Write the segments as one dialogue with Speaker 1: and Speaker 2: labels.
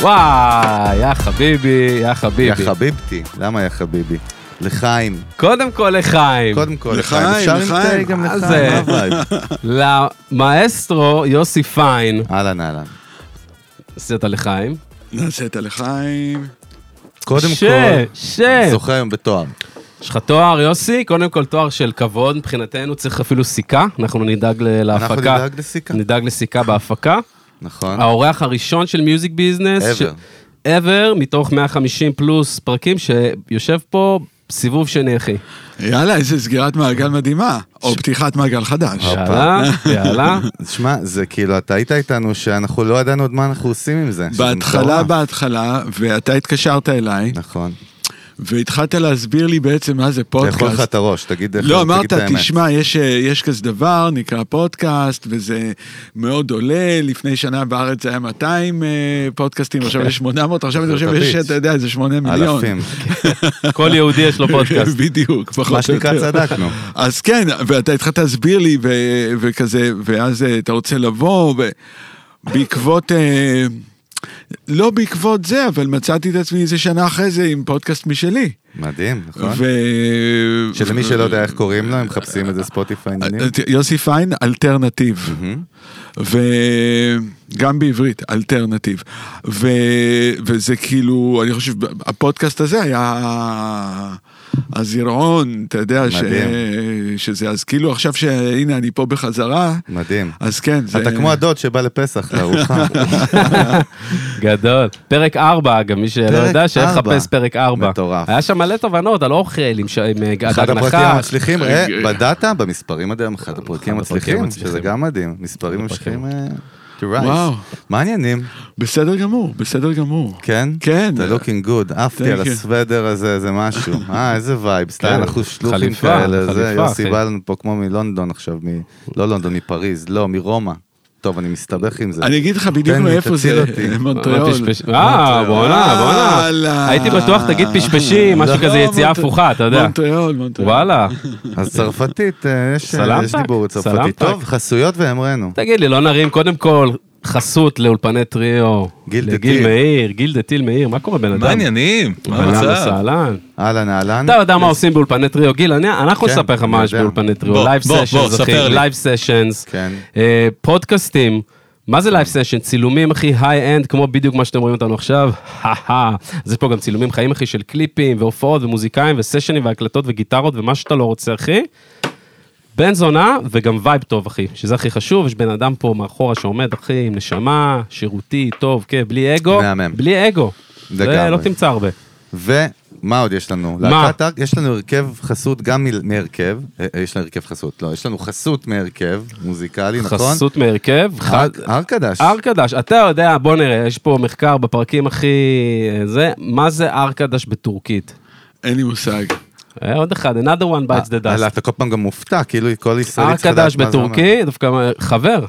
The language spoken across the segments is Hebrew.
Speaker 1: וואי, יא חביבי, יא
Speaker 2: יא
Speaker 1: חביבי.
Speaker 2: חביבתי, למה יא חביבי? לחיים,
Speaker 1: קודם כל לחיים,
Speaker 2: קודם כל
Speaker 3: לחיים,
Speaker 2: לחיים. אפשר
Speaker 3: לחיים.
Speaker 2: להתנהג גם
Speaker 1: מה
Speaker 2: לחיים,
Speaker 1: זה?
Speaker 2: מה הווייב?
Speaker 1: למאסטרו יוסי פיין,
Speaker 2: אהלן, אהלן.
Speaker 1: עשית לחיים.
Speaker 3: נעשה את הלחיים.
Speaker 2: קודם
Speaker 1: ש...
Speaker 2: כל,
Speaker 1: ש...
Speaker 3: אה.
Speaker 2: זוכה היום בתואר.
Speaker 1: יש לך תואר, יוסי, קודם כל תואר של כבוד, מבחינתנו צריך אפילו סיכה, אנחנו נדאג ל-
Speaker 2: אנחנו
Speaker 1: להפקה.
Speaker 2: נדאג לסיכה,
Speaker 1: נדאג לסיכה בהפקה.
Speaker 2: נכון?
Speaker 3: אה,
Speaker 1: האורח הראשון של מיוזיק ביזנס. ש-
Speaker 2: ever.
Speaker 1: ever, מתוך 150 פלוס פרקים שיושב פה סיבוב שני, אחי.
Speaker 3: יאללה, איזה סגירת מעגל מדהימה. או פתיחת מעגל חדש.
Speaker 2: אה,
Speaker 1: יאללה, יאללה.
Speaker 2: תשמע, זה כאילו, אתה היית איתנו שאנחנו לא ידענו עוד מה אנחנו עושים עם זה. שזה
Speaker 3: בהתחלה,
Speaker 2: מטורף.
Speaker 3: בהתחלה, ואתה התקשרת אליי,
Speaker 2: נכון.
Speaker 3: והתחלת להסביר לי בעצם מה זה
Speaker 2: לאכול לך
Speaker 3: פודקאסט.
Speaker 2: את הראש, תגיד תגיד את
Speaker 3: לא, אמרת,
Speaker 2: האמת.
Speaker 3: תשמע, יש, אה, יש כזה דבר, נקרא פודקאסט, וזה מאוד עולה, לפני שנה בארץ זה היה 200 אה, פודקאסטים, עכשיו יש 800, עכשיו אני
Speaker 2: כן. זה
Speaker 3: חושב יש,
Speaker 2: תביץ.
Speaker 3: אתה יודע, זה 8 מיליון.
Speaker 2: אלפים. כן,
Speaker 1: כל יהודי יש לו פודקאסט.
Speaker 3: בדיוק, פחות או
Speaker 2: מה שנקרא
Speaker 3: יותר.
Speaker 2: צדקנו.
Speaker 3: אז כן, ואתה התחלת להסביר לי ו- וכזה, ואז אה, אתה רוצה לבוא, ובעקבות, אה, לא בעקבות זה, אבל מצאתי את עצמי איזה שנה אחרי זה עם פודקאסט משלי.
Speaker 2: מדהים, נכון?
Speaker 3: ו...
Speaker 2: שלמי שלא יודע איך קוראים לו, הם מחפשים את זה ספוטיפיי עניינים.
Speaker 3: אה, יוסי פיין, אלטרנטיב,
Speaker 2: מהמם.
Speaker 3: וגם בעברית, אלטרנטיב. ו... וזה כאילו, אני חושב, הפודקאסט הזה היה הזירעון, אתה יודע, ש...
Speaker 2: מדהים.
Speaker 3: שזה, אז כאילו עכשיו שהנה אני פה בחזרה,
Speaker 2: מדהים.
Speaker 3: אז כן, זה...
Speaker 2: אתה כמו הדוד שבא לפסח לארוחה.
Speaker 1: גדול. פרק 4, אגב, מי שלא
Speaker 2: פרק
Speaker 1: יודע,
Speaker 2: ארבע.
Speaker 1: שיחפש פרק 4.
Speaker 2: מטורף.
Speaker 1: היה שם מלא תובנות על אוכל, עם ש- עם אה,
Speaker 2: אחד
Speaker 1: הדג
Speaker 2: הפרקים
Speaker 1: נחש.
Speaker 2: המצליחים, אה, בדאטה, במספרים עד היום, אחד הפרקים
Speaker 1: אחד הפרקים
Speaker 2: המצליחים,
Speaker 1: המצליחים.
Speaker 2: שזה גם מדהים. מספרים ממשיכים אה, to
Speaker 3: וואו.
Speaker 2: rise. מעניינים,
Speaker 3: בסדר גמור, בסדר גמור.
Speaker 2: כן?
Speaker 3: כן.
Speaker 2: אתה looking good, עפתי
Speaker 3: Thank
Speaker 2: על
Speaker 3: you.
Speaker 2: הסוודר הזה, זה משהו. אה, איזה וייב, סתם,
Speaker 1: כן,
Speaker 2: אנחנו שלוחים
Speaker 1: חליפה,
Speaker 2: כאלה, זה,
Speaker 1: חליפה,
Speaker 2: יוסי
Speaker 1: אחי.
Speaker 2: בא לנו פה כמו מלונדון עכשיו, מ- לא לונדון, מפריז, לא, מרומא. טוב, אני מסתבך עם זה.
Speaker 3: אני אגיד לך בדיוק
Speaker 2: תן לי,
Speaker 3: מאיפה
Speaker 2: כן, תציל
Speaker 3: זה,
Speaker 2: אותי.
Speaker 3: מונטריאול.
Speaker 1: פשפש- אה, בואנה, בואנה.
Speaker 3: וואלה.
Speaker 1: הייתי בטוח תגיד פשפשים, משהו
Speaker 3: לא,
Speaker 1: כזה יציאה
Speaker 3: מונטר-
Speaker 1: הפוכה, אתה יודע.
Speaker 3: מונטריאול, מונטריאול.
Speaker 1: וואלה.
Speaker 2: אז צרפתית, אה, יש
Speaker 1: סלמתק,
Speaker 2: יש דיבור צרפתית.
Speaker 1: סלמתק.
Speaker 2: טוב, חסויות והמרנו.
Speaker 1: תגיד לי, לא נרים קודם כל חסות לאולפני טריו.
Speaker 2: גיל דה
Speaker 1: לגיל
Speaker 2: טיל.
Speaker 1: מאיר, גיל דה טיל מאיר, מה קורה בן אדם?
Speaker 4: מה העניינים? מה
Speaker 1: אהלן
Speaker 4: המצב?
Speaker 1: וסהלן.
Speaker 2: אהלן, אהלן.
Speaker 1: אתה יודע מה עושים באולפני טריו, גיל, אני- אנחנו
Speaker 2: כן,
Speaker 1: נספר לך
Speaker 2: אני
Speaker 1: מה יש
Speaker 2: יודע.
Speaker 1: באולפני טריו,
Speaker 4: בוא,
Speaker 1: לייב
Speaker 4: בוא, בוא,
Speaker 1: סשנס, אחי,
Speaker 4: ספר לי.
Speaker 1: לייב סשנס,
Speaker 2: כן.
Speaker 1: פודקאסטים, מה זה לייב סשן? צילומים, אחי, היי-אנד, כמו בדיוק מה שאתם רואים אותנו עכשיו, הא אז יש פה גם צילומים חיים, אחי, של קליפים, והופעות, ומוזיקאים, וסשנים, והקלטות, וגיטרות, ומה שאתה לא רוצה, אחי. בן זונה וגם וייב טוב אחי, שזה הכי חשוב, יש בן אדם פה מאחורה שעומד אחי עם נשמה, שירותי, טוב, כן, בלי אגו,
Speaker 2: מהמם.
Speaker 1: בלי אגו, זה
Speaker 2: לגמרי.
Speaker 1: לא תמצא הרבה.
Speaker 2: ומה עוד יש לנו?
Speaker 1: מה?
Speaker 2: להקת ארק, יש לנו הרכב חסות גם מ- מהרכב, אה, אה, יש לנו הרכב חסות, לא, יש לנו חסות מהרכב מוזיקלי, נכון?
Speaker 1: חסות מהרכב, חד-
Speaker 2: ארק- ארקדש.
Speaker 1: ארקדש, אתה יודע, בוא נראה, יש פה מחקר בפרקים הכי... אה, זה, מה זה ארקדש בטורקית?
Speaker 3: אין לי מושג.
Speaker 1: אה, עוד אחד, another one bites the
Speaker 2: אה,
Speaker 1: dust.
Speaker 2: אתה כל פעם גם מופתע, כאילו כל ישראלי צריך לדעת
Speaker 1: ארקדש
Speaker 2: מה זה אומר.
Speaker 1: בטורקית, דווקא חבר,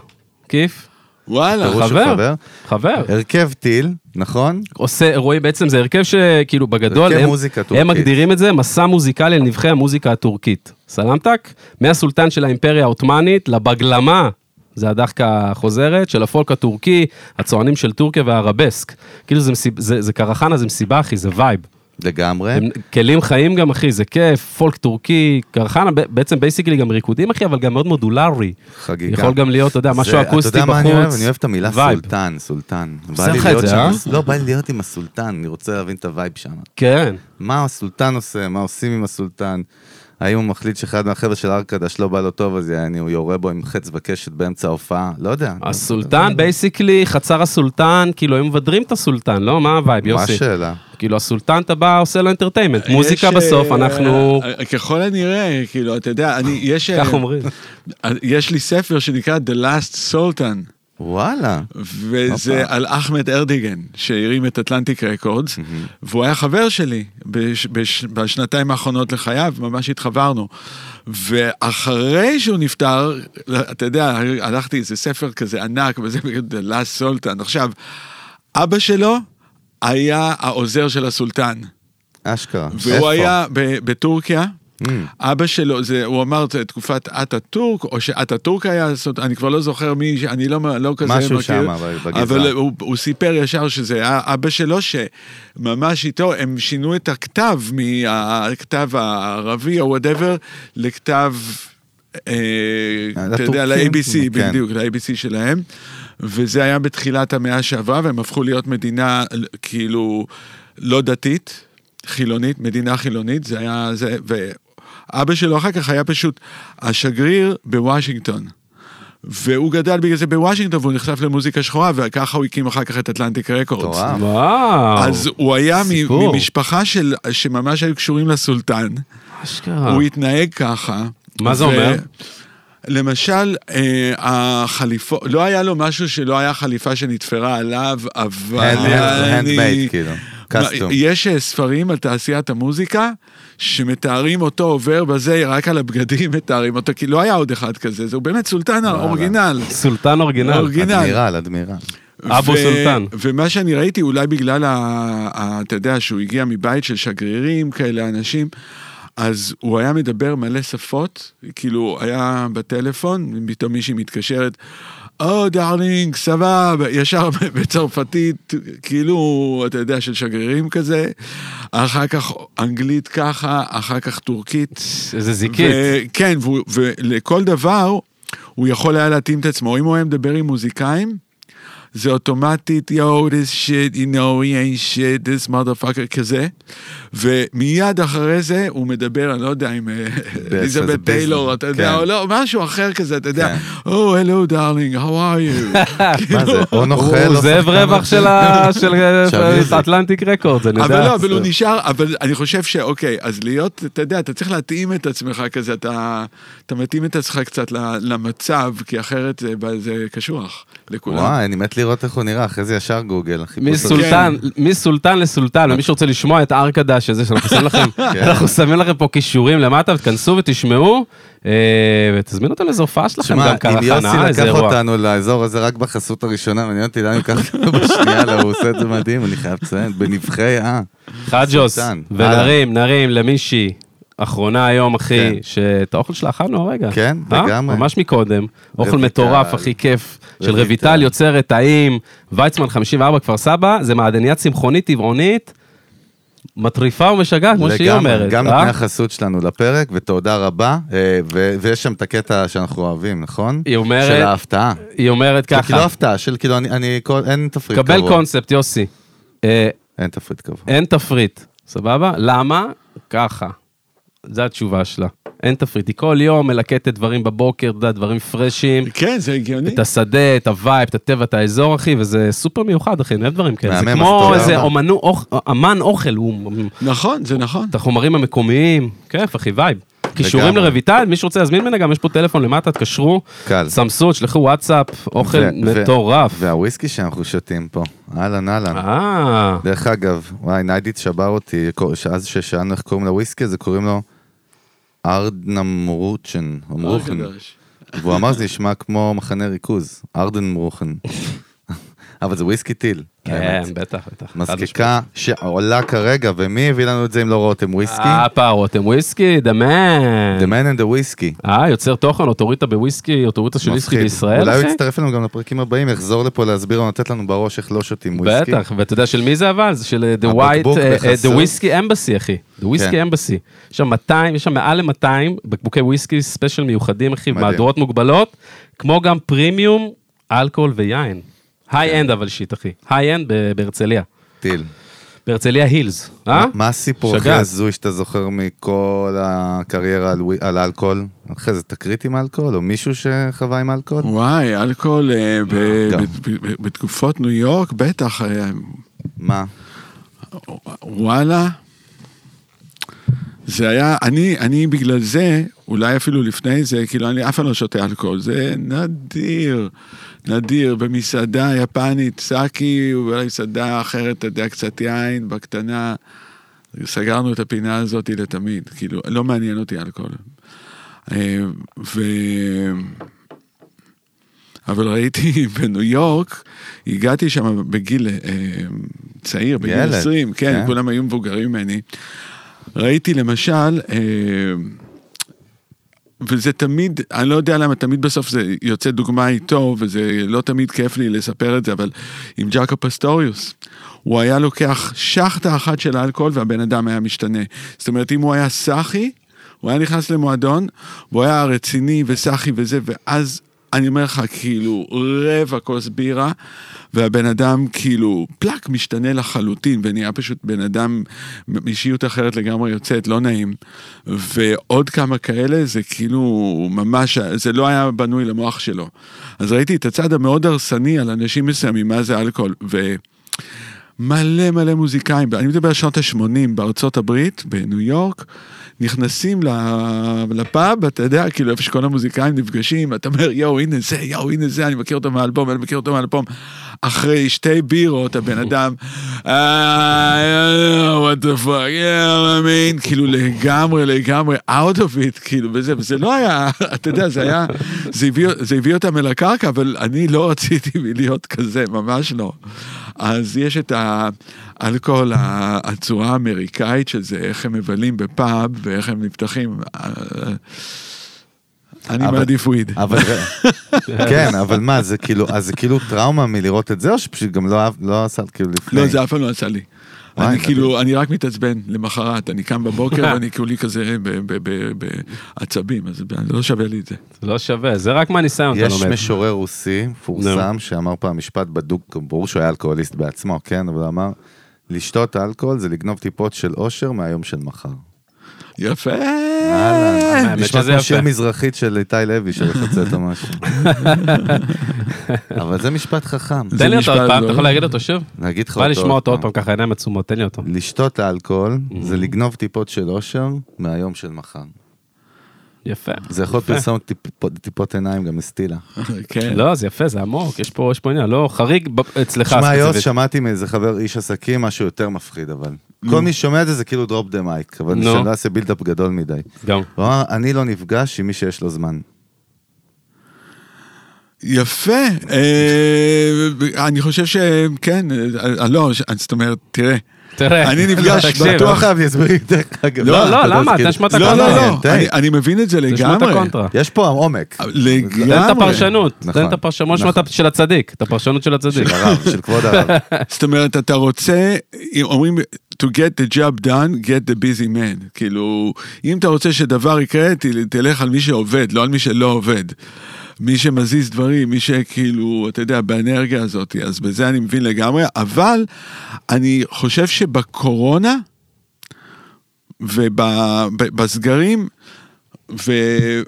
Speaker 1: כיף,
Speaker 3: וואלה.
Speaker 2: פירוש של
Speaker 1: חבר,
Speaker 2: חבר?
Speaker 1: חבר.
Speaker 2: הרכב טיל, נכון?
Speaker 1: עושה, רואים בעצם, זה הרכב שכאילו בגדול,
Speaker 2: הרכב
Speaker 1: הם,
Speaker 2: מוזיקה טורקית.
Speaker 1: הם מגדירים את זה מסע מוזיקלי לנבחי המוזיקה הטורקית. סלמתק? מהסולטן של האימפריה העות'מאנית לבגלמה, זה הדחקה החוזרת, של הפולק הטורקי, הצוענים של טורקיה והערבסק. כאילו זה, מסיב, זה, זה קרחנה, זה מסיבה אחי, זה וייב.
Speaker 2: לגמרי.
Speaker 1: הם כלים חיים גם אחי, זה כיף, פולק טורקי, קרחנה, ב- בעצם בייסיקלי גם ריקודים אחי, אבל גם מאוד מודולרי.
Speaker 2: חגיגה.
Speaker 1: יכול גם להיות, אתה יודע, משהו
Speaker 2: כן. זה-
Speaker 1: אקוסטי
Speaker 2: אתה יודע מה אני אוהב?
Speaker 1: בחוץ,
Speaker 2: אני אוהב את המילה
Speaker 1: וייב.
Speaker 2: סולטן, סולטן. בא
Speaker 1: עושה
Speaker 2: לי
Speaker 1: לך את
Speaker 2: להיות
Speaker 1: זה,
Speaker 2: שם-
Speaker 1: אה?
Speaker 2: לא, בא לי להיות עם הסולטן, אני רוצה להבין את הווייב שם.
Speaker 1: כן.
Speaker 2: מה הסולטן עושה, מה עושים עם הסולטן, האם הוא מחליט שאחד מהחבר'ה של ארקדש לא בא לו טוב, אז יעני, הוא יורה בו עם חץ וקשת באמצע ההופעה, לא יודע.
Speaker 1: הסולטן בייסיקלי, חצר הסולטן, כאילו הם מבדרים את הסולטן, לא? מה הווייב,
Speaker 2: מה
Speaker 1: יוסי?
Speaker 2: השאלה?
Speaker 1: כאילו הסולטן אתה בא, עושה לו אינטרטיימנט, מוזיקה
Speaker 3: יש,
Speaker 1: בסוף,
Speaker 3: אה,
Speaker 1: אנחנו...
Speaker 3: אה, ככל הנראה, כאילו, אתה יודע, אני, יש... אה,
Speaker 1: כך אומרים.
Speaker 3: אה, יש לי ספר שנקרא The Last Sultan,
Speaker 2: וואלה.
Speaker 3: וזה
Speaker 2: הופה.
Speaker 3: על אחמד ארדיגן, שהרים את אטלנטיק רקורדס, והוא היה חבר שלי בש, בש, בשנתיים האחרונות לחייו, ממש התחברנו. ואחרי שהוא נפטר, אתה יודע, הלכתי, זה ספר כזה ענק, וזה The Last Sultan. עכשיו, אבא שלו היה העוזר של הסולטן.
Speaker 2: אשכרה.
Speaker 3: והוא
Speaker 2: איפה?
Speaker 3: היה ב- בטורקיה,
Speaker 2: Mm.
Speaker 3: אבא שלו, זה, הוא אמר "ת- תקופת אטאטורק, או שאטאטורק היה, זאת, אני כבר לא זוכר מי, אני לא, לא כזה
Speaker 2: משהו
Speaker 3: מכיר.
Speaker 2: שם, אבל בגזרה.
Speaker 3: אבל הוא, הוא סיפר ישר שזה היה אבא שלו, שממש איתו, הם שינו את הכתב מהכתב הערבי או וואטאבר, לכתב, אה, אתה יודע,
Speaker 2: לטורקים?
Speaker 3: ל-ABC,
Speaker 2: כן.
Speaker 3: בדיוק, ל-ABC שלהם. וזה היה בתחילת המאה שעברה, והם הפכו להיות מדינה כאילו לא דתית, חילונית, מדינה חילונית, זה היה זה, ואבא שלו אחר כך היה פשוט השגריר בוושינגטון. והוא גדל בגלל זה בוושינגטון, והוא נחשף למוזיקה שחורה, וככה הוא הקים אחר כך את אטלנטיק רקורדס.
Speaker 2: מטורף.
Speaker 1: וואו,
Speaker 3: אה. אז הוא היה מ-
Speaker 1: סיפור.
Speaker 3: ממשפחה של, שממש היו קשורים לסולטן,
Speaker 1: אשכרה.
Speaker 3: הוא התנהג ככה.
Speaker 1: אה. מה זה אומר?
Speaker 3: למשל, אה, החליפות, לא היה לו משהו שלא היה חליפה שנתפרה עליו, אבל
Speaker 2: הנד
Speaker 3: אני...
Speaker 2: מייד, כאילו. קסטום.
Speaker 3: יש אה, ספרים על תעשיית המוזיקה שמתארים אותו עובר בזה, רק על הבגדים מתארים אותו, כי לא היה עוד אחד כזה, זהו באמת סולטן האורגינל.
Speaker 1: סולטן אורגינל.
Speaker 3: אורגינל.
Speaker 2: אדמירל, אדמירל.
Speaker 1: אבו סולטן.
Speaker 3: ומה שאני ראיתי, אולי בגלל, ה, ה, אתה יודע, שהוא הגיע מבית של שגרירים כאלה, אנשים, אז הוא היה מדבר מלא שפות, כאילו, היה בטלפון, פתאום מישהי מתקשרת, או דארלינג, סבבה, ישר בצרפתית, כאילו, אתה יודע, של שגרירים כזה, אחר כך אנגלית ככה, אחר כך טורקית.
Speaker 1: איזה זיקית.
Speaker 3: ו- כן, והוא- ולכל דבר הוא יכול היה להתאים את עצמו. אם הוא היה מדבר עם מוזיקאים, זה אוטומטית, יואו, this shit, you know, he ain't shit, this motherfucker, כזה. ומיד אחרי זה הוא מדבר, אני לא יודע, עם אה,
Speaker 2: איזה
Speaker 3: אליזבת טיילור,
Speaker 2: ביזנס,
Speaker 3: אתה יודע,
Speaker 2: כן.
Speaker 3: או לא, משהו אחר כזה, אתה
Speaker 2: כן.
Speaker 3: יודע, או, הלו דארלינג, how are you?
Speaker 2: מה זה, או
Speaker 1: הוא
Speaker 3: לא
Speaker 2: נוכל, או
Speaker 1: זאב
Speaker 2: שחקן
Speaker 1: רווח
Speaker 2: או-
Speaker 1: של ה- של
Speaker 2: שהמיוזיק.
Speaker 1: אטלנטיק רקורד, אני יודע.
Speaker 3: אבל לא, אבל הוא נשאר, אבל אני חושב שאוקיי, אז להיות, אתה יודע, אתה צריך להתאים את עצמך כזה, אתה, אתה מתאים את עצמך קצת ל- למצב, כי אחרת זה, זה קשוח לכולם.
Speaker 2: וואי, אני מת לראות איך הוא נראה, אחרי זה ישר גוגל. החיפוש הזה.
Speaker 1: מסולטן,
Speaker 2: כן.
Speaker 1: מסולטן לסולטן, ומי שרוצה לשמוע את ארקדה שזה שאנחנו שמים לכם,
Speaker 2: כן.
Speaker 1: אנחנו שמים לכם פה קישורים למטה, ותכנסו ותשמעו, אה, ותזמינו אותם לאיזה הופעה שלכם
Speaker 2: שמע,
Speaker 1: גם
Speaker 2: אם
Speaker 1: ככה,
Speaker 2: יוסי
Speaker 1: חנה, איזה
Speaker 2: לקח
Speaker 1: אירוע.
Speaker 2: אותנו לאזור הזה רק בחסות הראשונה, מעניין אותי לאן הוא ייקח אותנו בשנייה, לא, הוא עושה את זה מדהים, אני חייב לציין, בנבחי אה.
Speaker 1: חג'וס,
Speaker 2: סולטן.
Speaker 1: ונרים, נרים למישהי, אחרונה היום,
Speaker 2: כן.
Speaker 1: אחי, שאת האוכל שלה אכלנו הרגע.
Speaker 2: כן,
Speaker 1: אה?
Speaker 2: לגמרי.
Speaker 1: ממש מקודם. אוכל
Speaker 2: רויטל.
Speaker 1: מטורף, הכי כיף, של
Speaker 2: רויטל.
Speaker 1: רויטל יוצרת טעים, ויצמן 54 כפר סבא, זה מעדניה צמחונית טבעונית, מטריפה ומשגעת, כמו שהיא
Speaker 2: לגמרי,
Speaker 1: אומרת.
Speaker 2: גם
Speaker 1: אה?
Speaker 2: נותני החסות שלנו לפרק, ותודה רבה, אה, ו- ויש שם את הקטע שאנחנו אוהבים, נכון?
Speaker 1: היא אומרת-
Speaker 2: של ההפתעה.
Speaker 1: היא אומרת
Speaker 2: של כאילו
Speaker 1: ככה,
Speaker 2: הפתעה, של כאילו, אני- אני, כל- אין תפריט קבוע.
Speaker 1: קבל קונספט, יוסי. אה,
Speaker 2: אין תפריט קבוע.
Speaker 1: אין תפריט, סבבה? למה? ככה. זו התשובה שלה. אין תפריט. היא כל יום מלקטת דברים בבוקר, אתה יודע, דברים פרשים.
Speaker 2: אוקיי.
Speaker 3: כן, זה הגיוני.
Speaker 1: את השדה, את הווייב, את הטבע, את האזור, אחי, וזה סופר מיוחד, אחי, אני אוהב דברים כאלה. זה
Speaker 2: מהמם,
Speaker 1: כמו
Speaker 2: אז תודה
Speaker 1: איזה
Speaker 2: רבה.
Speaker 1: אומנו, אוכ- אמן אוכל, הוא...
Speaker 3: נכון, זה נכון.
Speaker 1: את החומרים המקומיים, כיף, אחי, וייב. קישורים
Speaker 2: לגמרי.
Speaker 1: לרויטל, מי שרוצה להזמין ממנה, גם יש פה טלפון למטה, תקשרו,
Speaker 2: קל.
Speaker 1: סמסו, תשלחו וואטסאפ, אוכל
Speaker 2: ו- ו-
Speaker 1: מטורף.
Speaker 2: והוויסקי שאנחנו שותים פה, אהלן אהלן.
Speaker 1: אה,
Speaker 2: דרך אגב, וואי, ניידית שבר אותי, כל- שאז ששאלנו איך קוראים לוויסקי, אז קוראים לו ארדנם רוצ'ן, או מרוכן. והוא אמר זה נשמע כמו מחנה ריכוז, ארדן מרוכן. אבל זה וויסקי טיל.
Speaker 1: כן,
Speaker 2: האמת.
Speaker 1: בטח, בטח. חד
Speaker 2: מזקיקה שעולה כרגע, ומי הביא לנו את זה אם לא רותם וויסקי?
Speaker 1: אה, פערותם וויסקי, דה מן.
Speaker 2: The man and the whiskey.
Speaker 1: אה, יוצר תוכן, אוטוריטה בוויסקי, אוטוריטה של וויסקי
Speaker 2: מפחיד.
Speaker 1: בישראל,
Speaker 2: אולי הוא
Speaker 1: אחי?
Speaker 2: יצטרף אלינו גם לפרקים הבאים, יחזור לפה להסביר לנו, לתת לנו בראש איך לא שותים וויסקי.
Speaker 1: בטח, ואתה יודע של מי זה אבל? זה של אה, The White,
Speaker 2: הבקבוק
Speaker 1: אה, אה,
Speaker 2: בחסות.
Speaker 1: The Whiskey Embassy, אחי. The Whiskey
Speaker 2: כן.
Speaker 1: Embassy. יש שם 200, יש שם מעל ל-200 בקבוקי וויסקי ספיישל מיוחדים, אחי,
Speaker 2: מדהים.
Speaker 1: מהדורות מוגבלות, כמו גם פרימיום, אלכוהול ויין. היי-אנד אבל שיט, אחי. היי-אנד ב- בהרצליה.
Speaker 2: טיל.
Speaker 1: בהרצליה הילס, אה?
Speaker 2: מה הסיפור הכי
Speaker 1: שגעת.
Speaker 2: הזוי שאתה זוכר מכל הקריירה על ווי- על אלכוהול? אחרי זה תקרית עם אלכוהול, או מישהו שחווה עם אלכוהול?
Speaker 3: וואי, אלכוהול אה, ב-
Speaker 2: גם.
Speaker 3: ב- ב- ב- בתקופות ניו יורק, בטח, אה,
Speaker 2: מה?
Speaker 3: וואלה. זה היה, אני, אני בגלל זה, אולי אפילו לפני זה, כאילו אני אף פעם לא שותה אלכוהול, זה נדיר, נדיר, במסעדה יפנית, סאקי, ואולי מסעדה אחרת, אתה יודע, קצת יין, בקטנה, סגרנו את הפינה הזאת לתמיד, כאילו, לא מעניין אותי אלכוהול. אה, ו... אבל ראיתי בניו יורק, הגעתי שם בגיל אה, צעיר, בגיל
Speaker 2: ילד,
Speaker 3: 20, כן,
Speaker 2: כן.
Speaker 3: כולם היו מבוגרים ממני. ראיתי למשל, אה, וזה תמיד, אני לא יודע למה, תמיד בסוף זה יוצא דוגמה איתו, וזה לא תמיד כיף לי לספר את זה, אבל עם ג'אקו פסטוריוס. הוא היה לוקח שחטה אחת של אלכוהול והבן אדם היה משתנה. זאת אומרת, אם הוא היה סאחי, הוא היה נכנס למועדון, והוא היה רציני וסאחי וזה, ואז אני אומר לך, כאילו, רבע כוס בירה, והבן אדם כאילו, פלאק, משתנה לחלוטין, ונהיה פשוט בן אדם, אישיות אחרת לגמרי יוצאת, לא נעים. ועוד כמה כאלה, זה כאילו, ממש, זה לא היה בנוי למוח שלו. אז ראיתי את הצד המאוד הרסני על אנשים מסוימים, מה זה אלכוהול, ו... מלא מלא מוזיקאים, אני מדבר על שנות ה-80 בארצות הברית, בניו יורק, נכנסים לפאב, אתה יודע, כאילו איפה שכל המוזיקאים נפגשים, אתה אומר יואו הנה זה, יואו הנה זה, אני מכיר אותו מהאלבום, אני מכיר אותו מהאלבום. אחרי שתי בירות הבן אדם, אה, what the fuck, yeah, I mean, כאילו לגמרי, לגמרי, out of it, כאילו, וזה, וזה לא היה, אתה יודע, זה היה, זה הביא, זה הביא אותם אל הקרקע, אבל אני לא רציתי להיות כזה, ממש לא. אז יש את האלכוהול, הצורה האמריקאית של זה, איך הם מבלים בפאב ואיך הם נפתחים. אני
Speaker 2: אבל-
Speaker 3: מעדיף וויד.
Speaker 2: אבל... כן, אבל מה, זה כאילו, אז זה כאילו טראומה מלראות את זה, או שפשוט גם לא אהב- לא עשה כאילו לפני?
Speaker 3: לא, זה אף פעם לא יצא לי.
Speaker 2: וואי,
Speaker 3: אני
Speaker 2: נדיר.
Speaker 3: כאילו, אני רק מתעצבן למחרת, אני קם בבוקר ואני כולי כזה ב- ב- ב- בעצבים, אז לא שווה לי את זה.
Speaker 1: לא שווה, זה רק מהניסיון אתה
Speaker 2: יש
Speaker 1: לומד.
Speaker 2: משורר רוסי מפורסם שאמר פעם משפט בדוק, ברור שהוא היה אלכוהוליסט בעצמו, כן? אבל הוא אמר, לשתות אלכוהול זה לגנוב טיפות של אושר מהיום של מחר.
Speaker 3: יפה.
Speaker 1: אה, האמת
Speaker 2: נשמע
Speaker 1: שזה
Speaker 2: כמו
Speaker 1: יפה.
Speaker 2: שיר מזרחית של איתי לוי שרחצה אותו משהו. אבל זה משפט חכם.
Speaker 3: זה
Speaker 1: תן לי אותו עוד
Speaker 3: משפט
Speaker 1: פעם,
Speaker 3: לא-
Speaker 1: אתה יכול להגיד אותו שוב?
Speaker 2: נגיד לך
Speaker 1: בא לשמוע אותו עוד
Speaker 2: אה.
Speaker 1: פעם Mhm. ככה עיניים עצומות, תן לי אותו.
Speaker 2: לשתות אלכוהול זה לגנוב טיפות של אושר מהיום של מחר.
Speaker 1: יפה.
Speaker 2: זה יכול להיות פרסום טיפ- טיפות עיניים גם לסטילה.
Speaker 3: כן.
Speaker 1: לא, זה יפה, זה עמוק, יש פה יש פה עניין, לא חריג ב- אצלך
Speaker 2: שמע, יוס,
Speaker 1: ספציפית.
Speaker 2: שמעתי מאיזה חבר איש עסקים משהו יותר מפחיד, אבל. כל מי ששומע את זה זה כאילו דרופ דה מייק, אבל
Speaker 1: נו.
Speaker 2: שלא יעשה בילדאפ גדול מדי.
Speaker 1: גם.
Speaker 2: הוא אמר, אני לא נפגש עם מי שיש לו זמן.
Speaker 3: יפה. אה, אני חושב שכן, אה, לא, ש- זאת אומרת, תראה.
Speaker 1: תראה,
Speaker 3: אני נפגש
Speaker 1: תקשיב,
Speaker 2: בטוח חייב להסביר לי דרך
Speaker 1: כן.
Speaker 2: אגב.
Speaker 3: לא,
Speaker 1: לא,
Speaker 2: אתה יודע,
Speaker 1: למה?
Speaker 2: זה כאילו-
Speaker 1: תשמע את
Speaker 3: לא, לא,
Speaker 1: הקונטרה.
Speaker 3: לא,
Speaker 2: כן,
Speaker 3: אני-
Speaker 2: תן.
Speaker 3: אני מבין את זה
Speaker 1: תשמע את
Speaker 3: לגמרי.
Speaker 1: הקונטרה.
Speaker 2: יש פה עומק.
Speaker 1: אה, תן את
Speaker 3: לגמרי.
Speaker 1: הפרשנות, תן
Speaker 2: נכון,
Speaker 1: את הפרשנות, בוא נשמע את
Speaker 2: נכון.
Speaker 1: הפ- של הצדיק, את הפרשנות של הצדיק.
Speaker 2: של הרב, של כבוד הרב.
Speaker 3: זאת אומרת, אתה רוצה, אומרים, to get the job done, get the busy man. כאילו, אם אתה רוצה שדבר יקרה, ת- תלך על מי שעובד, לא על מי שלא עובד. מי שמזיז דברים, מי שכאילו, אתה יודע, באנרגיה הזאת, אז בזה אני מבין לגמרי, אבל אני חושב שבקורונה ובסגרים, ו-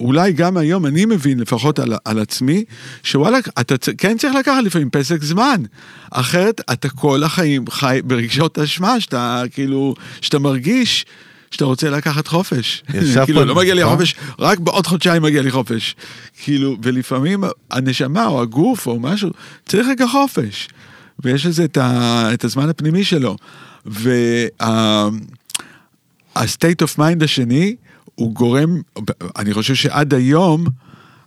Speaker 3: ואולי גם היום אני מבין, לפחות על, על עצמי, שוואלה, אתה צ- כן צריך לקחת לפעמים פסק זמן. אחרת אתה כל החיים חי ברגשות אשמה, שאתה כאילו, שאתה מרגיש שאתה רוצה לקחת חופש.
Speaker 2: ישב
Speaker 3: כאילו,
Speaker 2: פה-
Speaker 3: לא מגיע לי
Speaker 2: נכון?
Speaker 3: חופש, רק בעוד חודשיים מגיע לי חופש. כאילו, ולפעמים הנשמה או הגוף או משהו, צריך רגע חופש. ויש לזה את, ה, את הזמן הפנימי שלו. וה... ה-state of mind השני, הוא גורם, אני חושב שעד היום,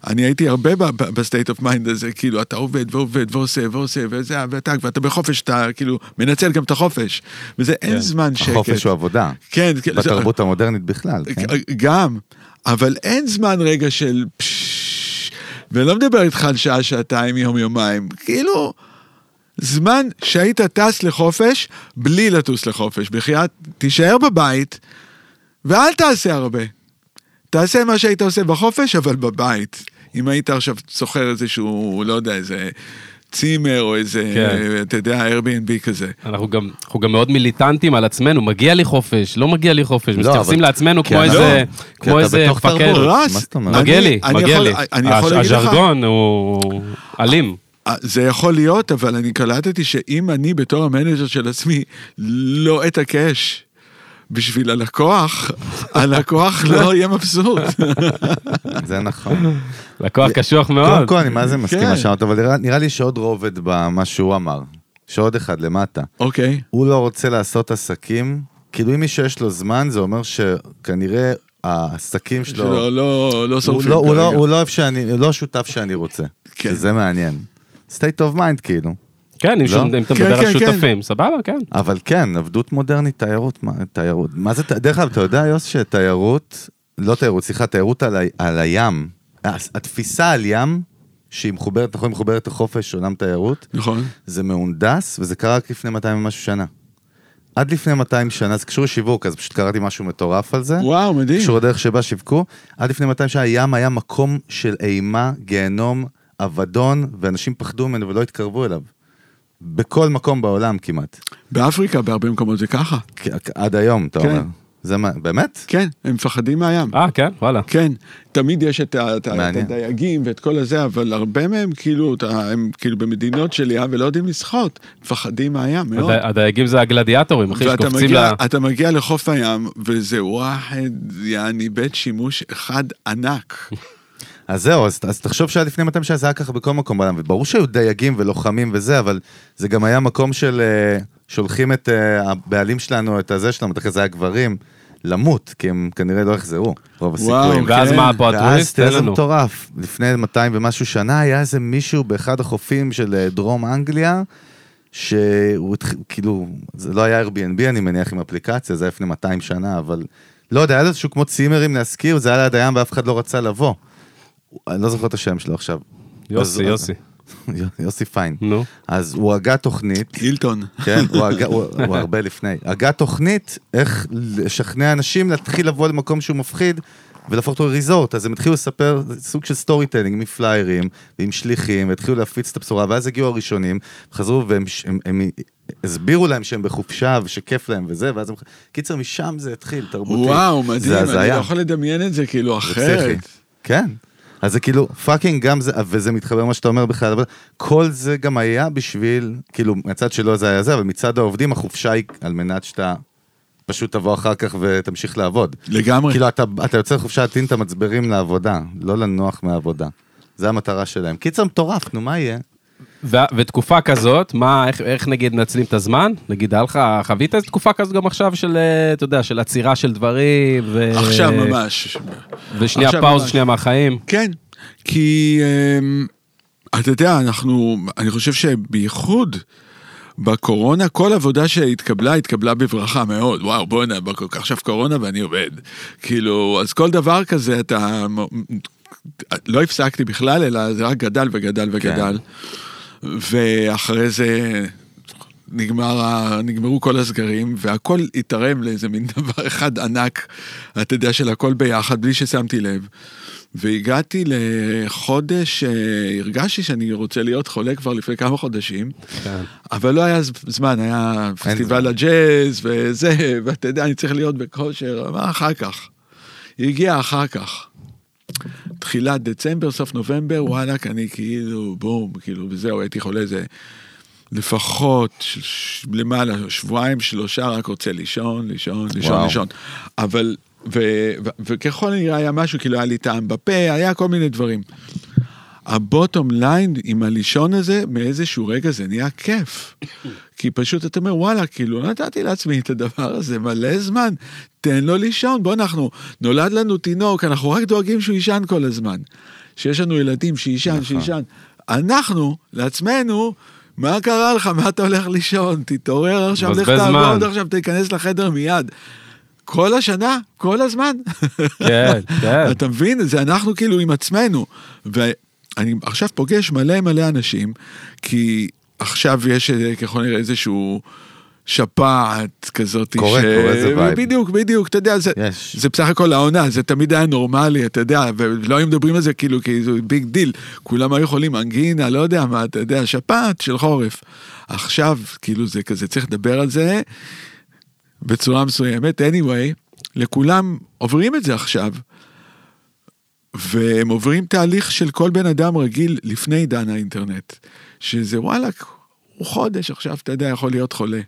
Speaker 3: אני הייתי הרבה ב- ב- ב-state of mind הזה, כאילו, אתה עובד ועובד ועושה ועושה וזה, ואתה, ואתה בחופש, אתה כאילו מנצל גם את החופש. וזה אין זמן שקט.
Speaker 2: כן, החופש הוא עבודה.
Speaker 3: כן, כן, זה-
Speaker 2: בתרבות
Speaker 1: לא.
Speaker 2: המודרנית בכלל, כן.
Speaker 3: אה, גם, אבל אין זמן רגע של פששש, ולא מדבר איתך על שעה, שעתיים, יום, יומיים. כאילו, זמן שהיית טס לחופש, בלי לטוס לחופש. בחייאת, תישאר בבית, ואל תעשה הרבה. תעשה מה שהיית עושה בחופש, אבל בבית. אם היית עכשיו שוכר איזשהו, לא יודע, איזה צימר או איזה,
Speaker 1: כן.
Speaker 3: אתה יודע, Airbnb כזה.
Speaker 1: אנחנו גם, אנחנו גם מאוד מיליטנטים על עצמנו, מגיע לי חופש, לא מגיע לי חופש,
Speaker 2: לא,
Speaker 1: מתייחסים
Speaker 2: אבל-
Speaker 1: לעצמנו
Speaker 2: כי
Speaker 1: כמו
Speaker 2: אנחנו-
Speaker 1: איזה,
Speaker 2: כי
Speaker 1: כמו
Speaker 2: אתה
Speaker 1: איזה
Speaker 2: בתוך
Speaker 1: מפקד.
Speaker 2: תרבות.
Speaker 3: רס,
Speaker 2: מה זאת אומרת?
Speaker 1: מגיע
Speaker 3: לא, אני-
Speaker 1: לי,
Speaker 3: אני
Speaker 1: מגיע
Speaker 3: יכול-
Speaker 1: לי.
Speaker 3: אני
Speaker 1: הש-
Speaker 3: יכול להגיד לך-
Speaker 1: הז'רגון הוא אלים.
Speaker 3: אה, זה יכול להיות, אבל אני קלטתי שאם אני בתור המנג'ר של עצמי לא אתעקש בשביל הלקוח, הלקוח לא יהיה מבסוט.
Speaker 2: זה נכון.
Speaker 1: לקוח קשוח
Speaker 2: קודם
Speaker 1: מאוד.
Speaker 2: כל, אני מה זה מסכים
Speaker 3: כן.
Speaker 2: מה שאמרת, אבל נראה- נראה לי שעוד רובד במה שהוא אמר. שעוד אחד למטה.
Speaker 3: אוקיי.
Speaker 2: הוא לא רוצה לעשות עסקים, כאילו אם מישהו יש לו זמן, זה אומר שכנראה העסקים שלו...
Speaker 3: שלא, לא, לא
Speaker 2: הוא
Speaker 3: שורפים
Speaker 2: לא, הוא, לא,
Speaker 3: כרגע.
Speaker 2: הוא, לא אוהב שאני, הוא לא השותף שאני רוצה.
Speaker 3: כן.
Speaker 2: כן. זה מעניין. state of mind כאילו.
Speaker 1: כן, אם
Speaker 2: לא?
Speaker 1: שום- אם אתה
Speaker 3: כן,
Speaker 1: מדבר על
Speaker 3: כן, כן.
Speaker 1: שותפים, סבבה, כן.
Speaker 2: אבל כן, עבדות מודרנית, תיירות, מה- תיירות. מה זה, ת- דרך אגב, אתה יודע, יוס, שתיירות, לא תיירות, סליחה, תיירות על, ה- על הים. הס- התפיסה על ים, שהיא מחוברת, נכון, היא מחוברת לחופש, עולם תיירות,
Speaker 3: נכון.
Speaker 2: זה מהונדס, וזה קרה רק לפני 200 ומשהו שנה. עד לפני 200 שנה, זה קשור לשיווק, אז פשוט קראתי משהו מטורף על זה.
Speaker 3: וואו, מדהים.
Speaker 2: קשור לדרך שבה שיווקו. עד לפני 200 שנה הים היה מקום של אימה, גיהנום, אבדון, ואנשים פחדו ממנו ולא התקרבו אליו. בכל מקום בעולם כמעט.
Speaker 3: באפריקה, בהרבה מקומות זה ככה.
Speaker 2: כ- עד היום, אתה
Speaker 3: כן.
Speaker 2: אומר. זה מה, באמת?
Speaker 3: כן, הם מפחדים מהים.
Speaker 1: אה, כן, וואלה.
Speaker 3: כן, תמיד יש את, ה- את, ה- את
Speaker 2: מעניין.
Speaker 3: הדייגים ואת כל הזה, אבל הרבה מהם כאילו, אתה- הם כאילו במדינות של ים ולא יודעים לשחות, מפחדים מהים מאוד.
Speaker 1: הד- הדייגים זה הגלדיאטורים, אחי,
Speaker 3: לא. ואתה
Speaker 1: שקופצים
Speaker 3: מגיע, אה,
Speaker 1: ל...
Speaker 3: אתה מגיע לחוף הים, וזה וואחד, יעני בית שימוש אחד ענק.
Speaker 2: אז זהו, אז, אז תחשוב שעד לפני 200 שנה זה היה ככה בכל מקום בעולם, וברור שהיו דייגים ולוחמים וזה, אבל זה גם היה מקום של אה, שולחים את אה, הבעלים שלנו, את הזה שלנו, אחרי זה היה גברים, למות, כי הם כנראה לא יחזרו, רוב
Speaker 3: וואו,
Speaker 2: הסיכויים.
Speaker 1: ואז
Speaker 3: כן.
Speaker 1: מה פה
Speaker 2: ואז
Speaker 1: הטוויסט?
Speaker 2: תראה
Speaker 1: תן
Speaker 2: איזה
Speaker 1: לנו.
Speaker 2: מטורף, לפני 200 ומשהו שנה היה איזה מישהו באחד החופים של אה, דרום אנגליה, שהוא התח- כאילו, זה לא היה Airbnb אני מניח עם אפליקציה, זה היה לפני 200 שנה, אבל לא יודע, היה לו איזשהו כמו צימרים להשכיר, זה היה ליד הים ואף אחד לא רצה לבוא. אני לא זוכר את השם שלו עכשיו. אז-
Speaker 1: יוסי, יוסי.
Speaker 2: יוסי פיין.
Speaker 1: נו.
Speaker 2: אז הוא הגה תוכנית,
Speaker 3: הילטון.
Speaker 2: כן, הוא, הגה, הוא, הוא הרבה לפני. הגה תוכנית איך לשכנע אנשים להתחיל לבוא למקום שהוא מפחיד ולהפוך אותו לריזורט. אז הם התחילו לספר סוג של סטורי טיילינג מפליירים ועם שליחים, והתחילו להפיץ את הבשורה, ואז הגיעו הראשונים, חזרו והם הם, הם, הסבירו להם שהם בחופשה ושכיף להם וזה, ואז הם... קיצר, משם זה התחיל, תרבותי.
Speaker 3: וואו, מדהים,
Speaker 2: זה
Speaker 3: אני לא
Speaker 2: הזיה.
Speaker 3: יכול לדמיין את זה כאילו
Speaker 2: פסיכי.
Speaker 3: אחרת.
Speaker 2: כן. אז זה כאילו, פאקינג גם זה, וזה מתחבר מה שאתה אומר בכלל, אבל כל זה גם היה בשביל, כאילו, מהצד שלו זה היה זה, אבל מצד העובדים החופשה היא על מנת שאתה פשוט תבוא אחר כך ותמשיך לעבוד.
Speaker 3: לגמרי.
Speaker 2: כאילו, אתה, אתה יוצא לחופשה להתאים את המצברים לעבודה, לא לנוח מהעבודה. זה המטרה שלהם. קיצר מטורף, נו, מה יהיה?
Speaker 1: ו- ותקופה כזאת, מה, איך, איך נגיד מנצלים את הזמן? נגיד, היה לך, חווית איזה תקופה כזאת גם עכשיו של, אה, אתה יודע, של עצירה של דברים, ו...
Speaker 3: עכשיו
Speaker 1: אה.
Speaker 3: ממש.
Speaker 1: ושנייה
Speaker 3: עכשיו
Speaker 1: פאוז,
Speaker 3: ממש.
Speaker 1: שנייה מהחיים.
Speaker 3: כן, כי אמ, אתה יודע, אנחנו, אני חושב שבייחוד בקורונה, כל עבודה שהתקבלה, התקבלה בברכה מאוד. וואו, בוא'נה, בק- עכשיו קורונה ואני עובד. כאילו, אז כל דבר כזה, אתה... מ- לא הפסקתי בכלל, אלא זה רק גדל וגדל וגדל. ואחרי זה... נגמר, ה- נגמרו כל הסגרים, והכל התערם לאיזה מין דבר אחד ענק, אתה יודע, של הכל ביחד, בלי ששמתי לב. והגעתי לחודש, אה, הרגשתי שאני רוצה להיות חולה כבר לפני כמה חודשים,
Speaker 1: כן.
Speaker 3: אבל לא היה ז- זמן, היה פסטיבל
Speaker 2: זמן.
Speaker 3: הג'אז וזה, ואתה יודע, אני צריך להיות בכושר, מה אחר כך? הגיע אחר כך. תחילת דצמבר, סוף נובמבר, וואלכ, אני כאילו, בום, כאילו, וזהו, הייתי חולה איזה לפחות ש- ש- למעלה, שבועיים, שלושה, רק רוצה לישון, לישון, לישון,
Speaker 2: וואו.
Speaker 3: לישון. אבל, ו, ו, וככל הנראה היה משהו, כאילו היה לי טעם בפה, היה כל מיני דברים. הבוטום ליין עם הלישון הזה, מאיזשהו רגע זה נהיה כיף. כי פשוט אתה אומר, וואלה, כאילו, נתתי לעצמי את הדבר הזה מלא זמן, תן לו לישון, בוא אנחנו, נולד לנו תינוק, אנחנו רק דואגים שהוא יישן כל הזמן. שיש לנו ילדים שיישן, שיישן. אנחנו, לעצמנו, מה קרה לך, מה אתה הולך לישון? תתעורר עכשיו, לך
Speaker 1: מבזבז זמן.
Speaker 3: תעבוד עכשיו, תיכנס לחדר מיד. כל השנה, כל הזמן.
Speaker 1: כן, כן.
Speaker 3: אתה מבין? זה אנחנו כאילו עם עצמנו. ואני עכשיו פוגש מלא מלא אנשים, כי עכשיו יש אה, ככל נראה איזשהו שפעת כזאת.
Speaker 2: קורה,
Speaker 3: ש-
Speaker 2: קורה, זה וייב.
Speaker 3: בדיוק, בדיוק, אתה יודע, זה,
Speaker 2: יש.
Speaker 3: זה בסך הכל העונה, זה תמיד היה נורמלי, אתה יודע, ולא היו מדברים על זה כאילו, כי זה ביג דיל. כולם היו חולים אנגינה, לא יודע מה, אתה יודע, שפעת של חורף. עכשיו, כאילו, זה כזה, צריך לדבר על זה. בצורה מסוימת. anyway, לכולם עוברים את זה עכשיו, והם עוברים תהליך של כל בן אדם רגיל לפני עידן האינטרנט, שזה וואלכ, הוא חודש עכשיו, אתה יודע, יכול להיות חולה.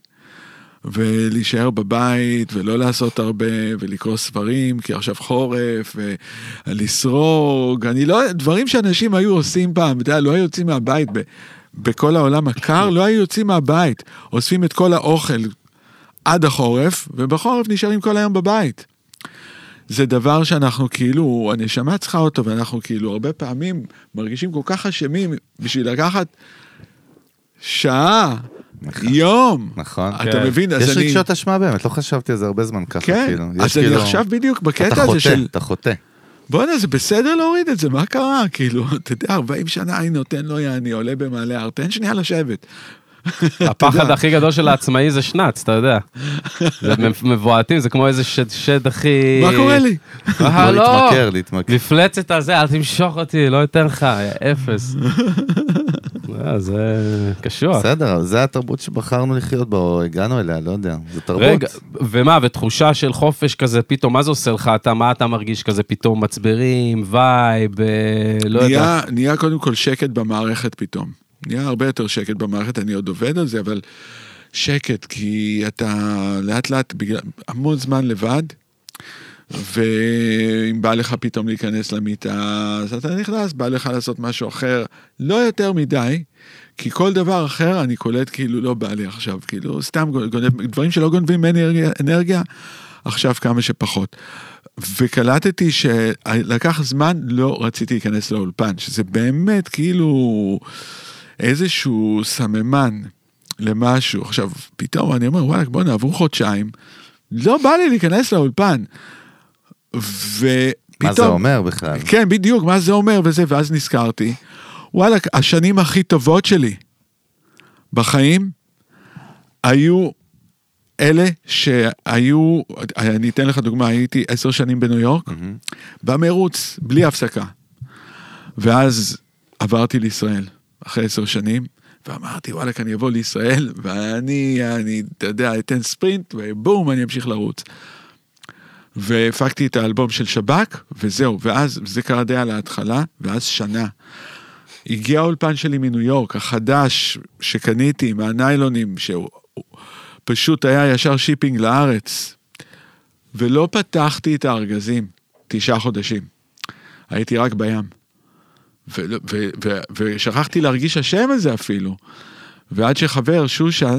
Speaker 3: ולהישאר בבית, ולא לעשות הרבה, ולקרוא ספרים, כי עכשיו חורף, ולסרוג, אני לא, דברים שאנשים היו עושים פעם, אתה יודע, לא היו יוצאים מהבית, ב, בכל העולם הקר, לא היו יוצאים מהבית, אוספים את כל האוכל עד החורף, ובחורף נשארים כל היום בבית. זה דבר שאנחנו כאילו, הנשמה צריכה אותו, ואנחנו כאילו הרבה פעמים מרגישים כל כך אשמים בשביל לקחת שעה, יום.
Speaker 2: נכון.
Speaker 3: אתה
Speaker 1: כן.
Speaker 3: מבין? אז
Speaker 2: יש
Speaker 3: אני...
Speaker 2: רגשות אשמה באמת, לא חשבתי על זה הרבה זמן ככה,
Speaker 3: כן,
Speaker 2: כאילו. יש
Speaker 3: אז אני
Speaker 2: כאילו-
Speaker 3: עכשיו בדיוק
Speaker 2: אתה
Speaker 3: בקטע הזה
Speaker 2: חוטא,
Speaker 3: של...
Speaker 2: אתה חוטא.
Speaker 3: בואנה, זה בסדר להוריד את זה, מה קרה? כאילו, אתה יודע, 40 שנה אני נותן לו יעני, עולה במעלה הר, תן שנייה לשבת.
Speaker 1: הפחד הכי גדול של העצמאי זה שנץ, אתה יודע. זה מב- מבועתים, זה כמו איזה שד- שד הכי...
Speaker 3: מה קורה לי?
Speaker 1: אה, לא.
Speaker 2: להתמכר, להתמכר.
Speaker 1: מפלצת הזה, אל תמשוך אותי, לא אתן לך, אפס. אה, זה קשוח.
Speaker 2: בסדר, אבל זה התרבות שבחרנו לחיות בה, או הגענו אליה, לא יודע. זה תרבות.
Speaker 1: רגע, ומה, ותחושה של חופש כזה פתאום, מה זה עושה לך? אתה, מה אתה מרגיש כזה פתאום? מצברים, וייב, אה, לא יודע.
Speaker 3: נהיה, נהיה קודם כל שקט במערכת פתאום. נהיה הרבה יותר שקט במערכת, אני עוד עובד על זה, אבל שקט, כי אתה לאט לאט, בגלל, המון זמן לבד, ואם בא לך פתאום להיכנס למיטה, אז אתה נכנס, בא לך לעשות משהו אחר, לא יותר מדי, כי כל דבר אחר אני קולט כאילו לא בא לי עכשיו, כאילו סתם גונב, דברים שלא גונבים ממני אנרגיה, אנרגיה, עכשיו כמה שפחות. וקלטתי שלקח זמן, לא רציתי להיכנס לאולפן, שזה באמת כאילו איזשהו סממן למשהו. עכשיו, פתאום אני אומר, וואלה, בוא'נה, עברו חודשיים, לא בא לי להיכנס לאולפן. ופתאום...
Speaker 2: מה זה אומר בכלל?
Speaker 3: כן, בדיוק, מה זה אומר וזה, ואז נזכרתי. וואלה, השנים הכי טובות שלי בחיים היו אלה שהיו, אני אתן לך דוגמה, הייתי עשר שנים בניו יורק, במרוץ, בלי הפסקה. ואז עברתי לישראל, אחרי עשר שנים, ואמרתי, וואלכ, אני אבוא לישראל, ואני, אני, אתה יודע, אתן ספרינט, ובום, אני אמשיך לרוץ. והפקתי את האלבום של שב"כ, וזהו, ואז, זה קרה די על ההתחלה, ואז שנה. הגיע האולפן שלי מניו יורק, החדש, שקניתי מהניילונים, שהוא הוא- פשוט היה ישר שיפינג לארץ, ולא פתחתי את הארגזים תשעה חודשים. הייתי רק בים. ו- ו- ו- ושכחתי להרגיש אשם על זה אפילו. ועד שחבר, שושן,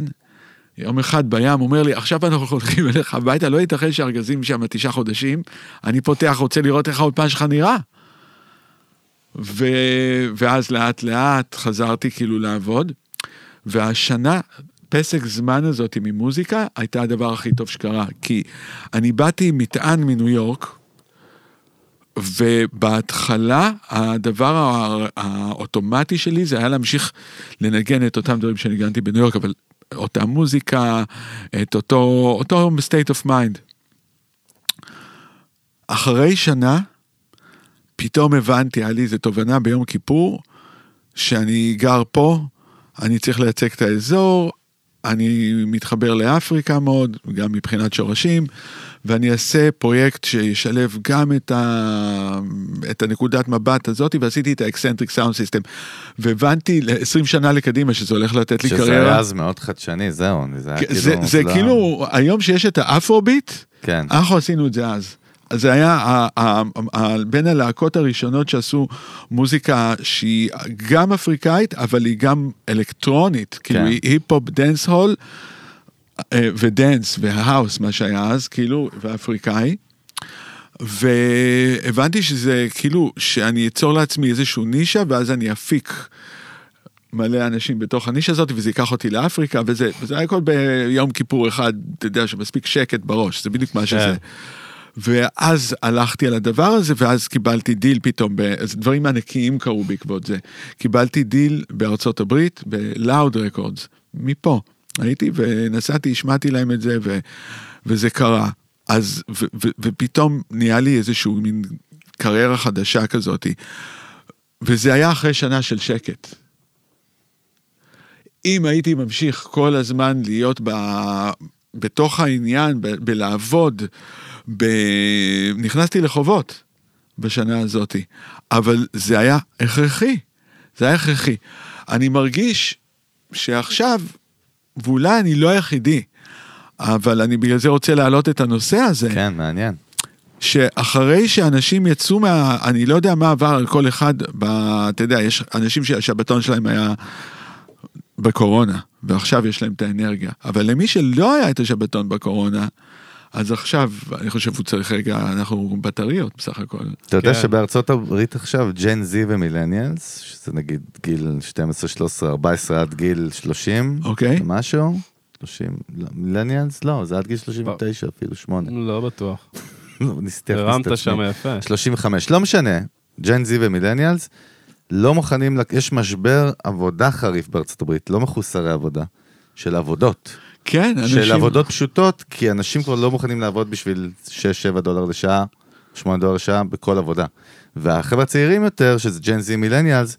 Speaker 3: יום אחד בים, אומר לי, עכשיו אנחנו הולכים אליך הביתה, לא ייתכן שארגזים שם תשעה חודשים, אני פותח, רוצה לראות איך האולפן שלך נראה. ו... ואז לאט לאט חזרתי כאילו לעבוד, והשנה, פסק זמן הזאת ממוזיקה, הייתה הדבר הכי טוב שקרה, כי אני באתי עם מטען מניו יורק, ובהתחלה הדבר הא- האוטומטי שלי זה היה להמשיך לנגן את אותם דברים שניגנתי בניו יורק, אבל אותה מוזיקה, את אותו, אותו state of mind. אחרי שנה, פתאום הבנתי, היה לי איזו תובנה ביום כיפור, שאני גר פה, אני צריך לייצג את האזור, אני מתחבר לאפריקה מאוד, גם מבחינת שורשים, ואני אעשה פרויקט שישלב גם את, ה... את הנקודת מבט הזאת, ועשיתי את האקסנטריק סאונד סיסטם. והבנתי ל-20 שנה לקדימה שזה הולך לתת לי
Speaker 2: שזה היה
Speaker 3: קריירה.
Speaker 2: אז מאוד חדשני, זהו, זה היה
Speaker 3: כן,
Speaker 2: כאילו...
Speaker 3: זה, זה
Speaker 2: לא-
Speaker 3: כאילו, היום שיש את האפרוביט,
Speaker 2: כן.
Speaker 3: אנחנו עשינו את זה אז. אז זה היה ה- ה- ה- בין הלהקות הראשונות שעשו מוזיקה שהיא גם אפריקאית, אבל היא גם אלקטרונית,
Speaker 2: כן.
Speaker 3: כאילו היא היפ-הופ, דנס הול, אה, ודנס והאוס, מה שהיה אז, כאילו, ואפריקאי. והבנתי שזה כאילו, שאני אצור לעצמי איזשהו נישה, ואז אני אפיק מלא אנשים בתוך הנישה הזאת, וזה ייקח אותי לאפריקה, וזה, וזה היה הכל ביום כיפור אחד, אתה יודע, שמספיק שקט בראש, זה בדיוק מה שזה. ואז הלכתי על הדבר הזה, ואז קיבלתי דיל פתאום, ב... אז דברים ענקיים קרו בעקבות זה. קיבלתי דיל בארצות הברית, ב-Loud Records, מפה. הייתי ונסעתי, השמעתי להם את זה, ו... וזה קרה. אז, ו... ו... ופתאום נהיה לי איזשהו מין קריירה חדשה כזאתי. וזה היה אחרי שנה של שקט. אם הייתי ממשיך כל הזמן להיות ב... בתוך העניין, ב... בלעבוד, ב... נכנסתי לחובות בשנה הזאתי, אבל זה היה הכרחי, זה היה הכרחי. אני מרגיש שעכשיו, ואולי אני לא היחידי, אבל אני בגלל זה רוצה להעלות את הנושא הזה.
Speaker 2: כן, מעניין.
Speaker 3: שאחרי שאנשים יצאו מה... אני לא יודע מה עבר על כל אחד, ב... אתה יודע, יש אנשים שהשבתון שלהם היה בקורונה, ועכשיו יש להם את האנרגיה. אבל למי שלא היה את השבתון בקורונה, אז עכשיו, אני חושב שהוא צריך רגע, אנחנו בטריות בסך הכל.
Speaker 2: אתה יודע
Speaker 1: כן.
Speaker 2: שבארצות הברית עכשיו, ג'ן זי ומילניאלס, שזה נגיד גיל 12, 13, 14 עד גיל 30,
Speaker 3: אוקיי.
Speaker 2: משהו, 30, לא, מילניאלס לא, זה עד גיל 39 אפילו, 8.
Speaker 1: לא בטוח.
Speaker 2: לא, נסתכל.
Speaker 1: הרמת שם יפה.
Speaker 2: 35, לא משנה, ג'ן זי ומילניאלס, לא מוכנים, לק- יש משבר עבודה חריף בארצות הברית, לא מחוסרי עבודה, של עבודות.
Speaker 3: כן, אנשים...
Speaker 2: של עבודות פשוטות, כי אנשים כבר לא מוכנים לעבוד בשביל 6-7 דולר לשעה, 8 דולר לשעה, בכל עבודה. והחבר'ה הצעירים יותר, שזה ג'ן זי מילניאלס,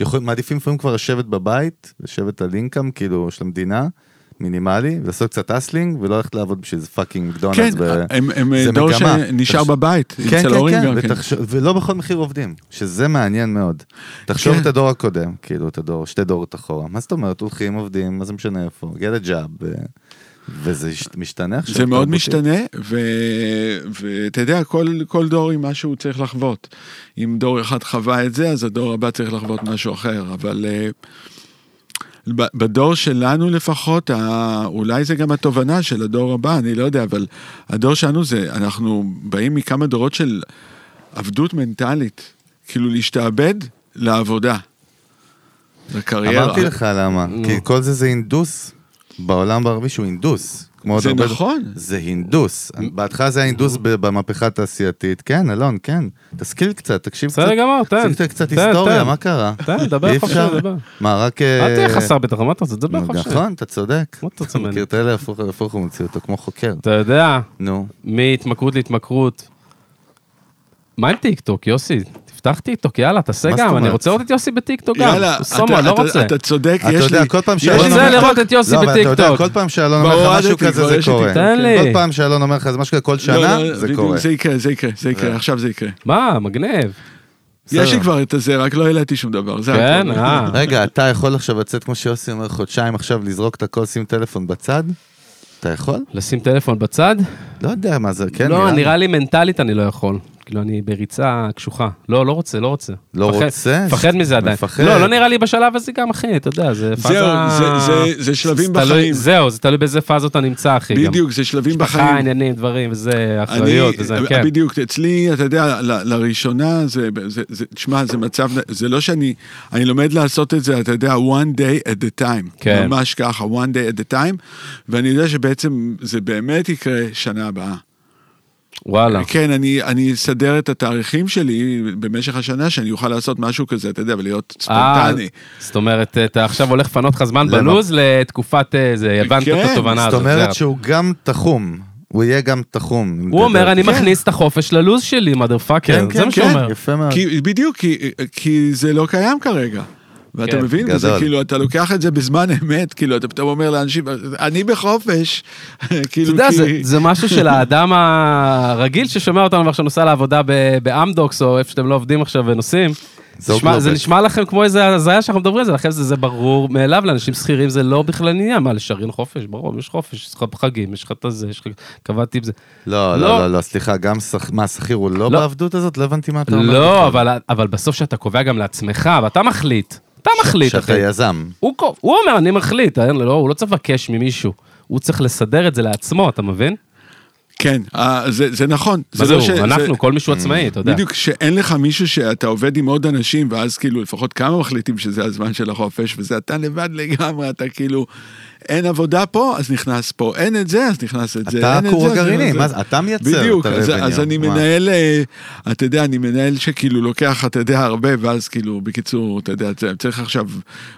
Speaker 2: יכול- מעדיפים לפעמים כבר לשבת בבית, לשבת על אינקאם, כאילו, של המדינה, מינימלי, ולעשות קצת אסלינג, ולא ללכת לעבוד בשביל איזה פאקינג
Speaker 3: כן,
Speaker 2: מקדונלדס. ו-
Speaker 3: הם, הם אה,
Speaker 2: זה
Speaker 3: דור
Speaker 2: מגמה.
Speaker 3: שנשאר
Speaker 2: תחש-
Speaker 3: בבית,
Speaker 2: כן,
Speaker 3: אצל ההורים
Speaker 2: כן, כן,
Speaker 3: גם כן.
Speaker 2: ותחשוב- ולא בכל מחיר עובדים, שזה מעניין מאוד. תחשוב
Speaker 3: כן.
Speaker 2: את הדור הקודם, כאילו, את הדור, שתי דורות אחורה. מה זאת אומרת, הולכים, עובדים, מה זה משנה איפה, get a job, ו- וזה הש- משתנה עכשיו.
Speaker 3: זה מאוד
Speaker 2: תרבותית.
Speaker 3: משתנה, ו- ואתה יודע, כל, כל דור עם מה שהוא צריך לחוות. אם דור אחד חווה את זה, אז הדור הבא צריך לחוות משהו אחר, אבל אה, ב- בדור שלנו לפחות, ה- אולי זה גם התובנה של הדור הבא, אני לא יודע, אבל הדור שלנו זה, אנחנו באים מכמה דורות של עבדות מנטלית, כאילו להשתעבד לעבודה. לקריירה.
Speaker 2: אמרתי לך למה, כי כל זה זה הינדוס בעולם הערבי שהוא הינדוס. כמו עוד
Speaker 3: זה
Speaker 2: הרבה-
Speaker 3: נכון.
Speaker 2: זה הינדוס. בהתחלה זה היה הינדוס ב- במהפכה התעשייתית. כן, אלון, כן. תשכיל קצת, תקשיב קצת.
Speaker 1: בסדר גמור, תן.
Speaker 2: תקשיב קצת
Speaker 1: תן,
Speaker 2: היסטוריה,
Speaker 1: תן.
Speaker 2: מה קרה?
Speaker 1: תן, דבר
Speaker 2: אי
Speaker 1: חופשי,
Speaker 2: אפשר?
Speaker 1: דבר.
Speaker 2: מה, רק...
Speaker 1: אל
Speaker 2: אה,
Speaker 1: תהיה חסר ביטחון, מה אתה רוצה? תדבר חופשי.
Speaker 2: נכון, אתה צודק.
Speaker 1: לא מה אתה רוצה ממני?
Speaker 2: מכיר את אלה הפוך על הפוך, הוא מוציא אותו כמו חוקר.
Speaker 1: אתה יודע,
Speaker 2: נו.
Speaker 1: מהתמכרות להתמכרות. מה עם טיקטוק, יוסי? תפתח טיקטוק, יאללה, תעשה
Speaker 2: מה זאת
Speaker 1: גם, אני
Speaker 2: אומרת?
Speaker 1: רוצה לראות את יוסי בטיקטוק גם.
Speaker 3: יאללה,
Speaker 1: סומו,
Speaker 3: אתה-
Speaker 1: לא
Speaker 3: אתה-
Speaker 1: רוצה.
Speaker 3: אתה צודק,
Speaker 2: אתה
Speaker 3: יש לי...
Speaker 2: יודע, כל פעם
Speaker 3: יש
Speaker 2: שאלון
Speaker 3: לי-
Speaker 1: רוצה לראות את יוסי
Speaker 2: לא, אבל אתה יודע,
Speaker 1: בטיקטוק.
Speaker 2: כל פעם שאלון אומר
Speaker 3: כבר
Speaker 2: לך משהו
Speaker 3: הורדתי,
Speaker 2: כזה,
Speaker 3: כבר
Speaker 2: זה
Speaker 3: יש לי
Speaker 2: קורה.
Speaker 1: תן לי.
Speaker 2: כל פעם שאלון אומר לך זה משהו כזה, כל שנה,
Speaker 3: לא, לא,
Speaker 2: זה
Speaker 3: בדיוק,
Speaker 2: קורה.
Speaker 3: זה יקרה, זה יקרה, זה יקרה, עכשיו זה יקרה.
Speaker 1: מה, מגניב.
Speaker 3: יש לי כבר את הזה, רק לא העליתי שום דבר, זה
Speaker 1: כן,
Speaker 3: הכל.
Speaker 1: אה.
Speaker 2: רגע, אתה יכול עכשיו לצאת, כמו שיוסי אומר, חודשיים עכשיו לזרוק את הכל, שים טלפון בצד? אתה יכול?
Speaker 1: לשים טלפון בצד?
Speaker 2: לא יודע מה זה, כן?
Speaker 1: לא,
Speaker 2: לי.
Speaker 1: נראה לי מנטלית אני לא יכול. כאילו, אני בריצה קשוחה. לא, לא רוצה, לא רוצה.
Speaker 2: לא
Speaker 1: מפחד-
Speaker 2: רוצה?
Speaker 1: מפחד מזה עדיין.
Speaker 2: מפחד.
Speaker 1: לא, לא נראה לי בשלב הזה גם, אחי, אתה יודע, זה פאזה...
Speaker 3: זהו, זה- זה- זה שלבים
Speaker 1: תלוי-
Speaker 3: בחיים.
Speaker 1: זהו, זה תלוי באיזה פאזות אתה נמצא, אחי. גם.
Speaker 3: בדיוק, זה שלבים
Speaker 1: משפחה,
Speaker 3: בחיים.
Speaker 1: עניינים, דברים, וזה
Speaker 3: אני- אה,
Speaker 1: אחריות, וזה, כן.
Speaker 3: בדיוק, אצלי, אתה יודע, ל- לראשונה, זה, זה- זה- תשמע, זה מצב, זה לא שאני, אני לומד לעשות את זה, אתה יודע, one day at a time.
Speaker 1: כן.
Speaker 3: ממש ככה, one day at a time, ואני יודע שבעצם זה באמת יקרה שנה הבאה.
Speaker 1: וואלה.
Speaker 3: כן, אני, אני אסדר את התאריכים שלי במשך השנה, שאני אוכל לעשות משהו כזה, אתה יודע, ולהיות ספונטני.
Speaker 1: אה, זאת אומרת, אתה עכשיו הולך לפנות לך זמן
Speaker 2: למה?
Speaker 1: בלוז לתקופת אה, זה, הבנת את
Speaker 3: כן,
Speaker 1: התובנה
Speaker 2: זאת
Speaker 1: הזאת.
Speaker 2: אומרת
Speaker 1: זה-
Speaker 2: שהוא גם תחום. הוא יהיה גם תחום. אם
Speaker 1: הוא
Speaker 2: אתה
Speaker 1: אומר,
Speaker 2: יודע.
Speaker 1: אני
Speaker 2: כן,
Speaker 1: מכניס את החופש ללוז שלי, מדר פאקר.
Speaker 2: כן,
Speaker 1: זה מה שהוא
Speaker 2: כן,
Speaker 1: אומר.
Speaker 2: יפה מאוד.
Speaker 3: כי, בדיוק, כי, כי זה לא קיים כרגע. ואתה
Speaker 1: כן,
Speaker 3: מבין? וזה
Speaker 2: גדול.
Speaker 3: כאילו, אתה לוקח את זה בזמן אמת, כאילו, אתה פתאום אומר לאנשים, אני בחופש.
Speaker 1: אתה
Speaker 3: כאילו,
Speaker 1: יודע, זה-
Speaker 3: כי...
Speaker 1: זה משהו של האדם הרגיל ששומע אותנו ועכשיו נוסע לעבודה ב- באמדוקס, או איפה שאתם לא עובדים עכשיו ונוסעים.
Speaker 2: זה
Speaker 1: נשמע-
Speaker 2: עוד לא
Speaker 1: זה
Speaker 2: עובד.
Speaker 1: נשמע לכם כמו איזה הזיה שאנחנו מדברים על זה, לכן זה זה ברור מאליו, לאנשים שכירים זה לא בכלל עניין. מה, לשריין חופש? ברור, יש חופש, יש לך חגים, יש לך את הזה, יש לך... קבעתי עם זה.
Speaker 2: לא,
Speaker 1: לא.
Speaker 2: לא, לא, לא, סליחה, גם שכ- מה, שכיר הוא לא
Speaker 1: לא.
Speaker 2: בעבדות הזאת? לא הבנתי מה אתה אומר.
Speaker 1: לא, אבל- אבל בסוף שאתה קובע גם לעצמך, ואתה מחליט. אתה מחליט, אחי.
Speaker 2: שאתה יזם.
Speaker 1: הוא קו- הוא אומר, אני מחליט, אין לו- לא, הוא לא צריך לבקש ממישהו. הוא צריך לסדר את זה לעצמו, אתה מבין?
Speaker 3: כן, אה, זה, זה נכון.
Speaker 1: מה זה
Speaker 3: לא
Speaker 1: הוא?
Speaker 3: ש-
Speaker 1: אנחנו, כל מישהו עצמאי, אתה יודע.
Speaker 3: בדיוק, שאין לך מישהו שאתה עובד עם עוד אנשים, ואז כאילו לפחות כמה מחליטים שזה הזמן של החופש, וזה אתה לבד לגמרי, אתה כאילו, אין עבודה פה, אז נכנס פה, אין את זה, אז נכנס את זה,
Speaker 2: אתה
Speaker 3: אין את
Speaker 2: הכור
Speaker 3: זה, אז נכנס
Speaker 2: הגרעיני,
Speaker 3: את זה.
Speaker 2: מה זה- אתה מייצר את
Speaker 3: בדיוק, אז,
Speaker 2: הרבניו,
Speaker 3: אז אני
Speaker 2: מה?
Speaker 3: מנהל, אה, אתה יודע, אני מנהל שכאילו לוקח, אתה יודע, הרבה, ואז כאילו, בקיצור, אתה יודע, צריך עכשיו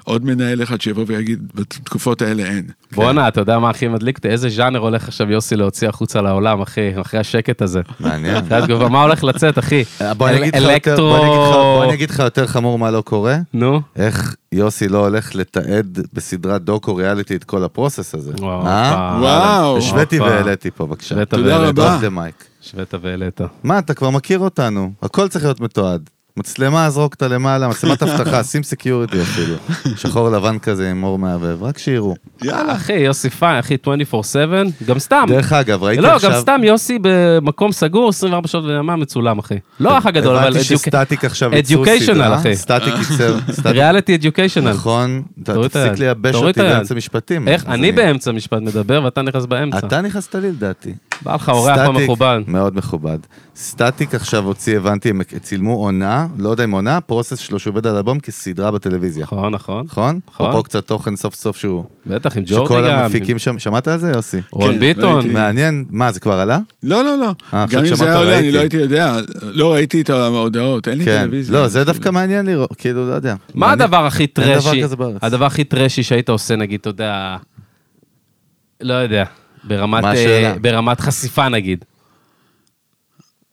Speaker 3: עוד מנהל אחד שיבוא ויגיד, בתקופות האלה אין.
Speaker 1: בואנה, אתה יודע מה הכי מדליק אותי? איזה ז'אנר הולך עכשיו יוסי להוציא החוצה לעולם, אחי, אחרי השקט הזה.
Speaker 2: מעניין.
Speaker 1: אחרי התגובה, מה הולך לצאת, אחי?
Speaker 2: אה, בוא אני אגיד לך יותר-
Speaker 1: אלקטרו...
Speaker 2: בוא אני אגיד לך- בוא אני אגיד לך יותר חמור מה לא קורה.
Speaker 1: נו,
Speaker 2: איך יוסי לא הולך לתעד בסדרת דוקו ריאליטי את כל הפרוסס הזה.
Speaker 1: וואו,
Speaker 2: אה?
Speaker 1: וואו.
Speaker 3: וואו.
Speaker 2: השוויתי
Speaker 1: הופה.
Speaker 2: והעליתי פה, בבקשה. אה,
Speaker 1: השווית
Speaker 3: תודה
Speaker 1: והעלית.
Speaker 3: רבה.
Speaker 2: Drop the mic.
Speaker 1: השווית והעלית.
Speaker 2: מה, אתה כבר מכיר אותנו, הכל צריך להיות מתועד. מצלמה זרוק אותה למעלה, מצלמת אבטחה, שים סקיוריטי אפילו. שחור לבן כזה עם אור מהבהב, רק שיראו.
Speaker 3: יאללה. כן,
Speaker 1: אחי, יוסי פיין, אחי, 24/7, גם סתם.
Speaker 2: דרך אגב, ראיתי
Speaker 1: לא,
Speaker 2: עכשיו...
Speaker 1: גם סתם יוסי במקום סגור, 24 שעות ביממה מצולם, אחי. לא אח הגדול, אבל
Speaker 2: הבנתי
Speaker 1: educa-
Speaker 2: שסטטיק עכשיו ייצרו
Speaker 1: educational,
Speaker 2: סדרה.
Speaker 1: אחי.
Speaker 2: סטטיק ייצר... סטטיק-
Speaker 1: ריאליטי אדיוקיישנל.
Speaker 2: נכון, אתה
Speaker 1: תוריד את היד.
Speaker 2: תפסיק לייבש
Speaker 1: תוריד
Speaker 2: אותי
Speaker 1: את היד.
Speaker 2: באמצע משפטים.
Speaker 1: איך,
Speaker 2: אז
Speaker 1: אני באמצע משפט מדבר ואתה נכנס באמצע.
Speaker 2: אתה נכנסת לי לדעתי.
Speaker 1: בא לך אורח לא
Speaker 2: סטטיק,
Speaker 1: מכובד.
Speaker 2: מאוד מכובד. סטטיק עכשיו הוציא, הבנתי, הם צילמו עונה, לא יודע אם עונה, פרוסס שלו שעובד על אלבום כסדרה בטלוויזיה.
Speaker 1: נכון, נכון.
Speaker 2: נכון?
Speaker 1: נכון.
Speaker 2: פה קצת תוכן סוף סוף שהוא...
Speaker 1: בטח, עם ג'ורדי
Speaker 2: שכל
Speaker 1: גם. אוקיי.
Speaker 2: המפיקים שם, שמעת על זה יוסי?
Speaker 1: רון
Speaker 3: כן,
Speaker 1: ביטון.
Speaker 3: ראיתי.
Speaker 2: מעניין, מה זה כבר עלה?
Speaker 3: לא, לא, לא.
Speaker 2: אה, עכשיו
Speaker 3: גם אם זה
Speaker 2: שמעת,
Speaker 3: היה עולה, אני
Speaker 2: ראיתי.
Speaker 3: לא הייתי יודע. לא ראיתי את ההודעות, אין לי
Speaker 2: כן.
Speaker 3: טלוויזיה.
Speaker 2: לא, זה דווקא מעניין לראות, כאילו, לא יודע.
Speaker 1: מה
Speaker 2: מעניין.
Speaker 1: הדבר הכי
Speaker 2: דבר
Speaker 1: טרשי,
Speaker 2: כזה בארץ.
Speaker 1: הדבר הכי טרשי שהיית עושה, נגיד, אתה יודע, לא יודע, ברמת,
Speaker 2: מה
Speaker 1: אה,
Speaker 2: השאלה?
Speaker 1: ברמת חשיפה נגיד,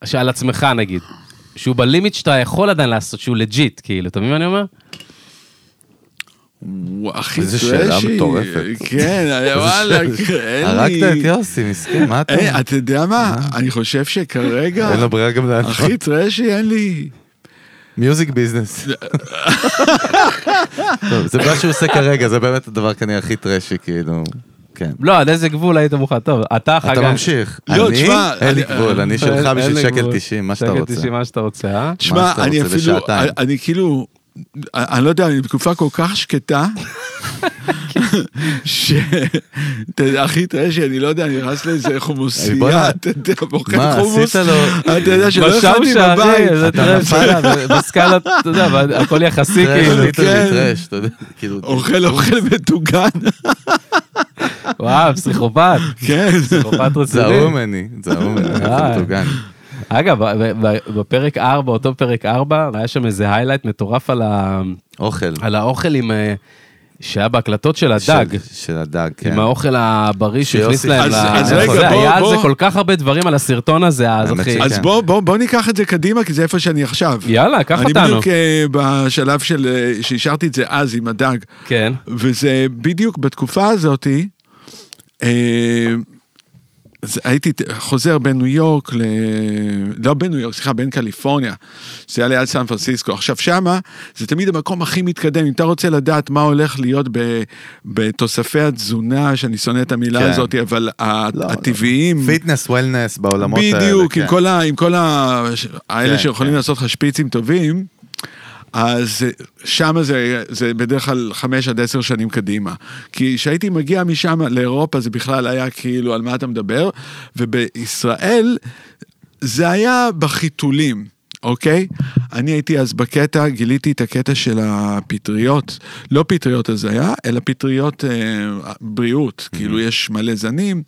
Speaker 1: שעל עצמך נגיד, שהוא בלימיט שאתה יכול עדיין לעשות, שהוא לג'יט, כאילו, אתה מבין מה אני אומר?
Speaker 3: וואו, הכי
Speaker 2: איזה
Speaker 3: טרשי.
Speaker 2: שאלה מטורפת.
Speaker 3: כן, וואלה, אין לי...
Speaker 2: הרגת את יוסי, מסכן, מה אתה...
Speaker 3: אה, אתה יודע מה? אני חושב שכרגע...
Speaker 2: אין לו ברירה גם להנחות.
Speaker 3: הכי טרשי אין לי...
Speaker 2: מיוזיק ביזנס. טוב, זה מה שהוא עושה כרגע, זה באמת הדבר כנראה הכי טרשי, כאילו. כן.
Speaker 1: לא, עד איזה גבול היית מוכן, טוב, אתה אחר כך...
Speaker 2: אתה ממשיך.
Speaker 3: לא,
Speaker 2: אני,
Speaker 3: תשמע,
Speaker 2: אין לי
Speaker 3: אני-
Speaker 2: גבול, אני שלך
Speaker 1: אין- אין
Speaker 2: בשביל
Speaker 1: לי
Speaker 2: שקל
Speaker 1: גבול.
Speaker 2: 90, מה שאתה
Speaker 1: שקל
Speaker 2: רוצה.
Speaker 1: 90, מה שאתה רוצה, אה?
Speaker 3: תשמע,
Speaker 2: שאתה
Speaker 3: אני
Speaker 2: רוצה,
Speaker 3: אפילו...
Speaker 2: לשעתיים.
Speaker 3: אני כאילו... אני לא יודע, אני בתקופה כל כך שקטה, ש... אתה יודע, הכי טרשי, אני לא יודע, אני נכנס לאיזה
Speaker 2: אה, בוא'נה.
Speaker 3: חומוסייה, אתה יודע,
Speaker 2: מה,
Speaker 3: בוחר
Speaker 2: עשית
Speaker 3: חומוס, אה,
Speaker 2: לו?
Speaker 3: אתה יודע שלא
Speaker 1: בשם
Speaker 3: יכולתי
Speaker 1: שערי,
Speaker 3: בבית.
Speaker 1: איזה
Speaker 2: אתה
Speaker 1: טרש,
Speaker 2: נפל
Speaker 1: בסקאלה, אתה יודע, אבל הכל יחסי,
Speaker 2: טרש,
Speaker 1: כאילו.
Speaker 2: ליטרלי
Speaker 3: כן.
Speaker 2: טרש, אתה יודע, כאילו,
Speaker 3: אוכל אוכל מטוגן,
Speaker 1: וואו, פסיכופת,
Speaker 3: כן.
Speaker 1: פסיכופת
Speaker 2: זה לא
Speaker 1: רציני.
Speaker 2: ההוא ממני, זה ההוא ממני,
Speaker 1: אה.
Speaker 2: זה מטוגן.
Speaker 1: אגב, ב- ב- בפרק 4, אותו פרק 4, היה שם איזה היילייט מטורף על, ה...
Speaker 2: אוכל.
Speaker 1: על האוכל עם... אה, שהיה בהקלטות של הדג.
Speaker 2: של- של הדג, כן.
Speaker 1: עם האוכל הבריא שהכניס
Speaker 2: שיוסי-
Speaker 1: להם
Speaker 3: אז-
Speaker 1: ל...
Speaker 3: אז
Speaker 1: זה,
Speaker 2: רגע, בוא-
Speaker 1: היה על
Speaker 3: בוא-
Speaker 1: זה כל כך הרבה דברים על הסרטון הזה, אז
Speaker 2: האמת
Speaker 1: אחי.
Speaker 2: שכן.
Speaker 3: אז בוא- בוא בוא ניקח את זה קדימה, כי זה איפה שאני עכשיו.
Speaker 1: יאללה, קח
Speaker 3: אני
Speaker 1: אותנו.
Speaker 3: בדיוק אה, בשלב של... אה, שהשארתי את זה אז עם הדג.
Speaker 1: כן.
Speaker 3: וזה בדיוק בתקופה הזאתי, אה, אז הייתי ת- חוזר בין ניו יורק ל... לא בין ניו יורק, סליחה, בין קליפורניה. זה היה ליד סן פרנסיסקו. עכשיו שמה, זה תמיד המקום הכי מתקדם. אם אתה רוצה לדעת מה הולך להיות ב... בתוספי התזונה, שאני שונא את המילה
Speaker 2: כן.
Speaker 3: הזאת, אבל ה...
Speaker 2: לא,
Speaker 3: הטבעיים...
Speaker 2: פיטנס, וולנס בעולמות האלה.
Speaker 3: בדיוק, עם
Speaker 2: כן.
Speaker 3: כל ה... עם כל ה... האלה
Speaker 2: כן,
Speaker 3: שיכולים
Speaker 2: כן.
Speaker 3: לעשות לך שפיצים טובים, אז שם זה, זה בדרך כלל חמש עד עשר שנים קדימה. כי כשהייתי מגיע משם לאירופה זה בכלל היה כאילו על מה אתה מדבר, ובישראל זה היה בחיתולים, אוקיי? אני הייתי אז בקטע, גיליתי את הקטע של הפטריות, לא פטריות הזיה, אלא פטריות אה, בריאות,
Speaker 2: Mm-hmm.
Speaker 3: כאילו יש מלא זנים.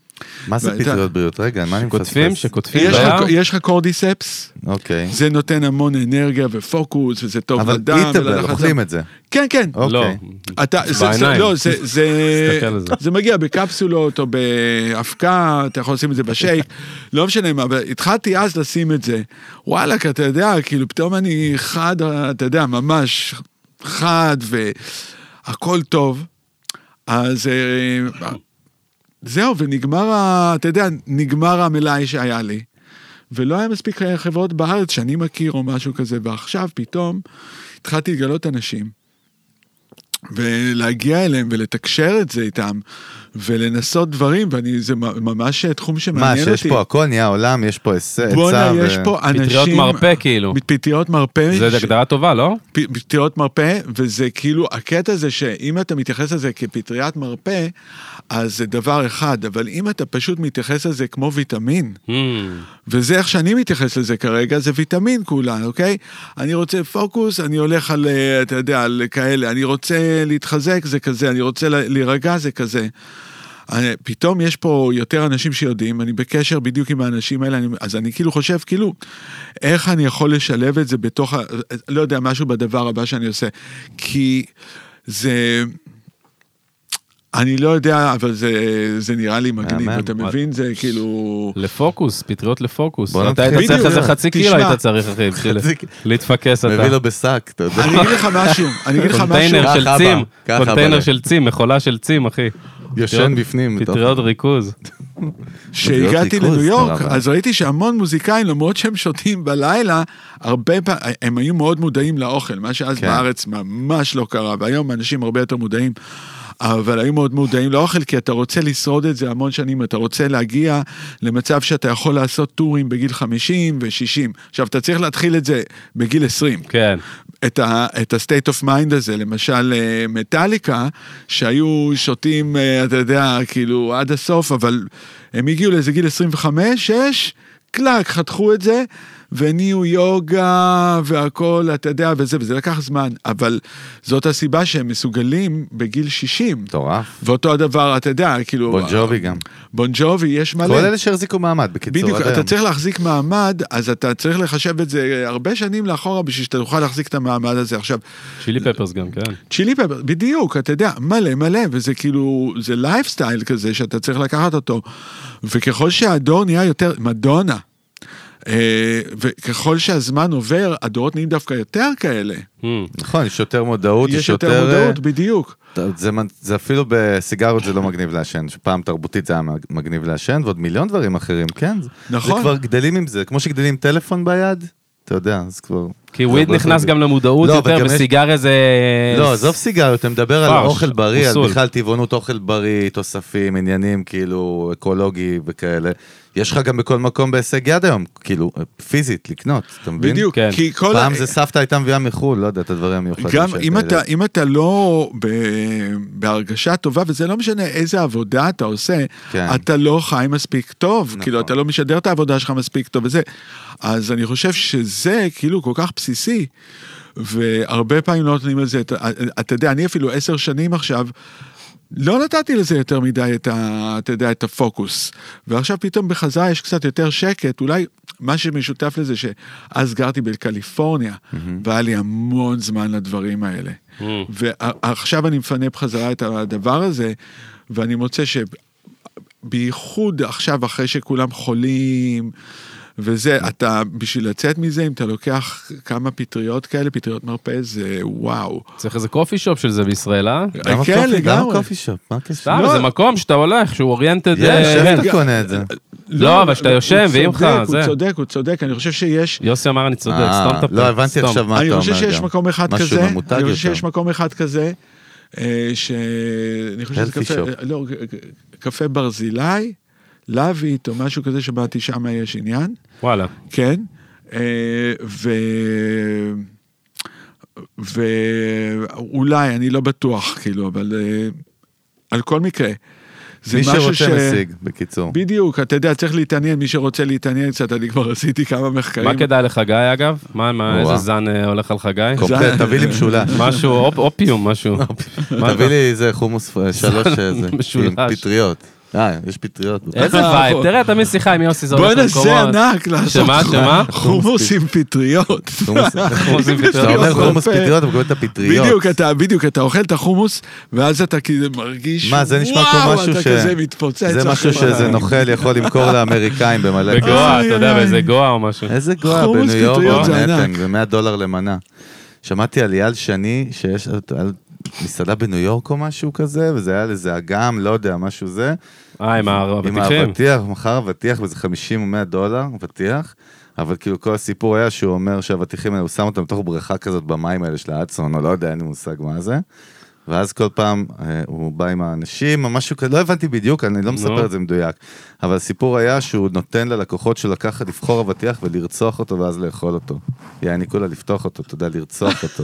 Speaker 2: מה זה
Speaker 3: והייתה-
Speaker 2: פטריות בריאות? רגע, מה אני מפספס?
Speaker 1: קוטפים, שקוטפים.
Speaker 3: יש
Speaker 1: ביער.
Speaker 3: לך- יש לך קורדיספס?
Speaker 2: אוקיי.
Speaker 3: זה נותן המון אנרגיה ופוקוס, וזה טוב
Speaker 2: אבל
Speaker 3: לדם.
Speaker 2: איטבל,
Speaker 3: וללחץ
Speaker 2: אוכלים
Speaker 3: דם.
Speaker 2: את זה.
Speaker 3: כן, כן.
Speaker 1: לא.
Speaker 2: אוקיי.
Speaker 3: אתה, זה, זה,
Speaker 1: בעיניים.
Speaker 3: לא, זה, זה,
Speaker 1: תסתכל על זה.
Speaker 3: זה מגיע בקפסולות או באבקה, אתה יכול לשים את זה בשייק, לא משנה מה, אבל התחלתי אז לשים את זה. וואלכ, אתה יודע, כאילו פתאום אני חד, אתה יודע, ממש חד והכל טוב. אז אה, זהו, ונגמר, ה- אתה יודע, נגמר המלאי שהיה לי. ולא היה מספיק חברות בארץ שאני מכיר או משהו כזה, ועכשיו פתאום התחלתי לגלות אנשים. ולהגיע אליהם ולתקשר את זה איתם, ולנסות דברים, ואני, זה מ- ממש תחום
Speaker 2: מה,
Speaker 3: שמעניין
Speaker 2: שיש
Speaker 3: אותי.
Speaker 2: פה הכל נהיה עולם, יש פה היצע.
Speaker 3: בואנה,
Speaker 2: ו-
Speaker 3: יש פה אנשים...
Speaker 1: פטריות מרפא, כאילו.
Speaker 3: פטריות מרפא.
Speaker 1: זו
Speaker 3: ש-
Speaker 1: הגדרה טובה, לא?
Speaker 3: פ- פטריות מרפא, וזה כאילו, הקטע זה שאם אתה מתייחס לזה כפטריית מרפא, אז זה דבר אחד, אבל אם אתה פשוט מתייחס לזה כמו ויטמין,
Speaker 1: Hmm.
Speaker 3: וזה איך שאני מתייחס לזה כרגע, זה ויטמין כולן, אוקיי? אני רוצה פוקוס, אני הולך על, אה, אתה יודע, על כאלה, אני רוצה להתחזק, זה כזה, אני רוצה לה- להירגע, זה כזה. אני- פתאום יש פה יותר אנשים שיודעים, אני בקשר בדיוק עם האנשים האלה, אני, אז אני כאילו חושב, כאילו, איך אני יכול לשלב את זה בתוך, ה- לא יודע, משהו בדבר הבא שאני עושה. כי זה... אני לא יודע, אבל זה, זה נראה לי מגניב,
Speaker 2: מהמם.
Speaker 3: אתה מבין? זה כאילו...
Speaker 1: לפוקוס, פטריות לפוקוס.
Speaker 2: בוא
Speaker 1: אתה
Speaker 2: נתחיל.
Speaker 1: היית צריך
Speaker 3: בדיוק.
Speaker 1: איזה חצי
Speaker 3: תשמע.
Speaker 1: קילו היית צריך, אחי, בשביל
Speaker 2: חצי-
Speaker 1: להתפקס אתה.
Speaker 2: מביא לו בשק, אתה יודע.
Speaker 3: אני אגיד לך משהו, אני אגיד לך משהו.
Speaker 1: קונטיינר של
Speaker 2: ככה
Speaker 1: צים,
Speaker 2: בא, ככה
Speaker 1: קונטיינר
Speaker 2: בא.
Speaker 1: של צים, מכולה של צים, אחי.
Speaker 2: ישן
Speaker 1: פטריות-
Speaker 2: בפנים. בתוך-
Speaker 1: פטריות ריכוז.
Speaker 3: כשהגעתי
Speaker 2: ריכוז,
Speaker 3: לניו יורק,
Speaker 2: סבבה.
Speaker 3: אז ראיתי שהמון מוזיקאים, למרות שהם שותים בלילה, הרבה פעמים, הם היו מאוד מודעים לאוכל, מה שאז
Speaker 2: כן.
Speaker 3: בארץ ממש לא קרה, והיום אנשים הרבה יותר מודעים. אבל היו מאוד מודעים לאוכל, כי אתה רוצה לשרוד את זה המון שנים, אתה רוצה להגיע למצב שאתה יכול לעשות טורים בגיל 50 ו-60. עכשיו, אתה צריך להתחיל את זה בגיל 20.
Speaker 1: כן.
Speaker 3: את, ה, את ה-state of mind הזה, למשל אה, מטאליקה, שהיו שותים, אה, אתה יודע, כאילו עד הסוף, אבל הם הגיעו לאיזה גיל 25, 6, קלאק, חתכו את זה, וניהו יוגה והכל, אתה יודע, וזה, וזה לקח זמן, אבל זאת הסיבה שהם מסוגלים בגיל 60.
Speaker 2: מטורף.
Speaker 3: ואותו הדבר, אתה יודע, כאילו...
Speaker 2: בון ג'ובי גם.
Speaker 3: בון ג'ובי, יש מלא.
Speaker 2: כל אלה שהחזיקו מעמד, בקיצור.
Speaker 3: בדיוק,
Speaker 2: עד
Speaker 3: אתה
Speaker 2: היום.
Speaker 3: צריך להחזיק מעמד, אז אתה צריך לחשב את זה הרבה שנים לאחורה בשביל שאתה תוכל להחזיק את המעמד הזה. עכשיו,
Speaker 1: צ'ילי פפרס גם, כן.
Speaker 3: צ'ילי פפר, בדיוק, אתה יודע, מלא מלא, וזה כאילו, זה לייפסטייל כזה שאתה צריך לקחת אותו. וככל שהדור נהיה יותר, מדונה, אה, וככל שהזמן עובר, הדורות נהיים דווקא יותר כאלה.
Speaker 1: Hmm.
Speaker 2: נכון, יש יותר אה, מודעות,
Speaker 3: יש יותר מודעות, בדיוק.
Speaker 2: אתה- זה, מ- זה אפילו בסיגרות זה לא מגניב לעשן, שפעם תרבותית זה היה מג- מגניב לעשן, ועוד מיליון דברים אחרים, כן? זה-
Speaker 3: נכון.
Speaker 2: זה כבר גדלים עם זה, כמו שגדלים עם טלפון ביד, אתה יודע, אז כבר...
Speaker 1: כי
Speaker 2: זה
Speaker 1: וויד
Speaker 2: הרבה
Speaker 1: נכנס
Speaker 2: יותר-
Speaker 1: גם למודעות
Speaker 2: לא, אבל
Speaker 1: יותר,
Speaker 2: גם יש-
Speaker 1: וסיגריה זה...
Speaker 2: לא, עזוב סיגריות, אתה מדבר על
Speaker 1: פרש,
Speaker 2: אוכל בריא, על
Speaker 1: פוסול.
Speaker 2: בכלל טבעונות אוכל בריא, תוספים, עניינים כאילו אקולוגי וכאלה. יש לך גם בכל מקום בהישג יד היום, כאילו, פיזית, לקנות, אתה מבין?
Speaker 3: בדיוק,
Speaker 1: כן.
Speaker 3: כי כל... ה-
Speaker 2: פעם זה סבתא הייתה מביאה מחו"ל, לא יודע, את הדברים המיוחדים.
Speaker 3: גם
Speaker 2: שהיית
Speaker 3: אם
Speaker 2: יודע.
Speaker 3: אתה, אם אתה לא ב, בהרגשה טובה, וזה לא משנה איזה עבודה אתה עושה,
Speaker 2: כן.
Speaker 3: כן. אתה לא חי מספיק טוב, נכון. כאילו אתה לא משדר את העבודה שלך מספיק טוב וזה. אז אני חושב שזה כאילו כל כך בסיסי, והרבה פעמים לא נותנים לזה, את, ה- אתה יודע, אני אפילו עשר שנים עכשיו, לא נתתי לזה יותר מדי את ה... אתה יודע, את הפוקוס. ועכשיו פתאום בחזרה יש קצת יותר שקט, אולי מה שמשותף לזה שאז גרתי בקליפורניה, והיה לי המון זמן לדברים האלה. ועכשיו אני מפנה בחזרה את הדבר הזה, ואני מוצא ש... בייחוד עכשיו, אחרי שכולם חולים, וזה, אתה, בשביל לצאת מזה, אם אתה לוקח כמה פטריות כאלה, פטריות מרפא, זה וואו.
Speaker 1: צריך איזה קופי שופ של זה בישראל, אה?
Speaker 2: למה
Speaker 3: כן,
Speaker 2: קופי- למה
Speaker 3: לגמרי.
Speaker 2: קופי שופ? מה הקשר?
Speaker 1: סתם,
Speaker 3: לא.
Speaker 1: זה מקום שאתה הולך, שהוא אה, כן. אוריינטד...
Speaker 2: יאללה, שב, אתה
Speaker 3: רגע.
Speaker 2: קונה את זה.
Speaker 1: לא, אבל שאתה
Speaker 3: הוא
Speaker 1: יושב, ואם
Speaker 3: צודק,
Speaker 1: לך, זה.
Speaker 3: הוא צודק, הוא צודק, אני חושב שיש...
Speaker 1: יוסי אמר, אני צודק,
Speaker 2: אה,
Speaker 1: סתום את הפה.
Speaker 2: לא, הבנתי
Speaker 1: סתום.
Speaker 2: עכשיו מה אתה
Speaker 3: אני
Speaker 2: אומר.
Speaker 3: חושב שיש
Speaker 2: גם.
Speaker 3: מקום אחד
Speaker 2: משהו
Speaker 3: כזה,
Speaker 2: ממותג
Speaker 3: אני
Speaker 2: יותר.
Speaker 3: חושב שיש מקום אחד כזה, אה, ש... אני חושב שזה
Speaker 2: Healthy
Speaker 3: קפה,
Speaker 2: shop.
Speaker 3: לא, קפה ברזילי, לויט או משהו כזה שבאתי שם יש עניין,
Speaker 1: וואלה.
Speaker 3: כן, אה, ו... ואולי, אני לא בטוח, כאילו, אבל אה, על כל מקרה, זה
Speaker 2: מי
Speaker 3: משהו ש...
Speaker 2: שרוצה משיג, בקיצור.
Speaker 3: בדיוק, אתה יודע, צריך להתעניין, מי שרוצה להתעניין קצת, אני כבר עשיתי כמה מחקרים.
Speaker 1: מה כדאי לחגי, אגב? מה, מה,
Speaker 2: וואו.
Speaker 1: איזה זן אה, הולך על חגי?
Speaker 2: קומפלט,
Speaker 3: זה-
Speaker 2: כן, תביא לי משולש.
Speaker 1: משהו, אופ- אופיום, משהו. מה
Speaker 2: תביא
Speaker 1: אתה-
Speaker 2: לי איזה חומוס אה, שלוש אה, זה,
Speaker 1: משולש.
Speaker 2: עם פטריות. אה, יש פטריות.
Speaker 1: איזה
Speaker 3: אה,
Speaker 1: וייב,
Speaker 3: בוא.
Speaker 1: תראה, תמיד שיחה עם יוסי, זה
Speaker 3: בוא
Speaker 1: הולך
Speaker 3: נעשה
Speaker 1: למקומות.
Speaker 3: ענק לעשות
Speaker 1: שמה,
Speaker 3: חומ-
Speaker 1: שמה?
Speaker 3: חומוס עם פטריות.
Speaker 2: חומוס-
Speaker 1: חומוס עם
Speaker 2: כשאתה אומר
Speaker 1: פטריות.
Speaker 2: חומוס
Speaker 3: יפה.
Speaker 2: פטריות, אתה מקבל את הפטריות.
Speaker 3: בדיוק, אתה, בדיוק, אתה אוכל את החומוס, ואז אתה כאילו מרגיש,
Speaker 2: מה, זה נשמע כמו
Speaker 3: וואו,
Speaker 2: משהו
Speaker 3: אתה
Speaker 2: ש-
Speaker 3: כזה מתפוצץ.
Speaker 2: זה משהו
Speaker 3: אחרי
Speaker 2: שאיזה
Speaker 3: ה-
Speaker 2: נוכל יכול למכור לאמריקאים במלא...
Speaker 1: בגואה, אתה
Speaker 3: איי,
Speaker 1: יודע,
Speaker 3: איי.
Speaker 1: באיזה גואה או משהו.
Speaker 2: איזה גואה,
Speaker 3: חומוס
Speaker 2: בניו יורק,
Speaker 3: פטריות זה
Speaker 2: במנהטן,
Speaker 3: ענק.
Speaker 2: זה 100 דולר למנה. שמעתי על אייל שני, שיש על מסעדה בניו יורק או משהו כזה, וזה היה לזה אגם, לא יודע, משהו זה.
Speaker 1: אה, עם
Speaker 2: עם
Speaker 1: האבטיחים.
Speaker 2: האבטיח, הוא מכר אבטיח, וזה 50 או 100 דולר, אבטיח. אבל כאילו כל הסיפור היה שהוא אומר שהאבטיחים האלה, הוא שם אותם בתוך בריכה כזאת במים האלה של האדסון, או לא יודע, אין לי מושג מה זה. ואז כל פעם אה, הוא בא עם האנשים, או משהו כזה, לא הבנתי בדיוק, אני לא מספר
Speaker 1: נו.
Speaker 2: את זה מדויק. אבל הסיפור היה שהוא נותן ללקוחות שלו לקחת, לבחור אבטיח ולרצוח אותו ואז לאכול אותו. יעניקו לה לפתוח אותו, אתה יודע, לרצוח אותו.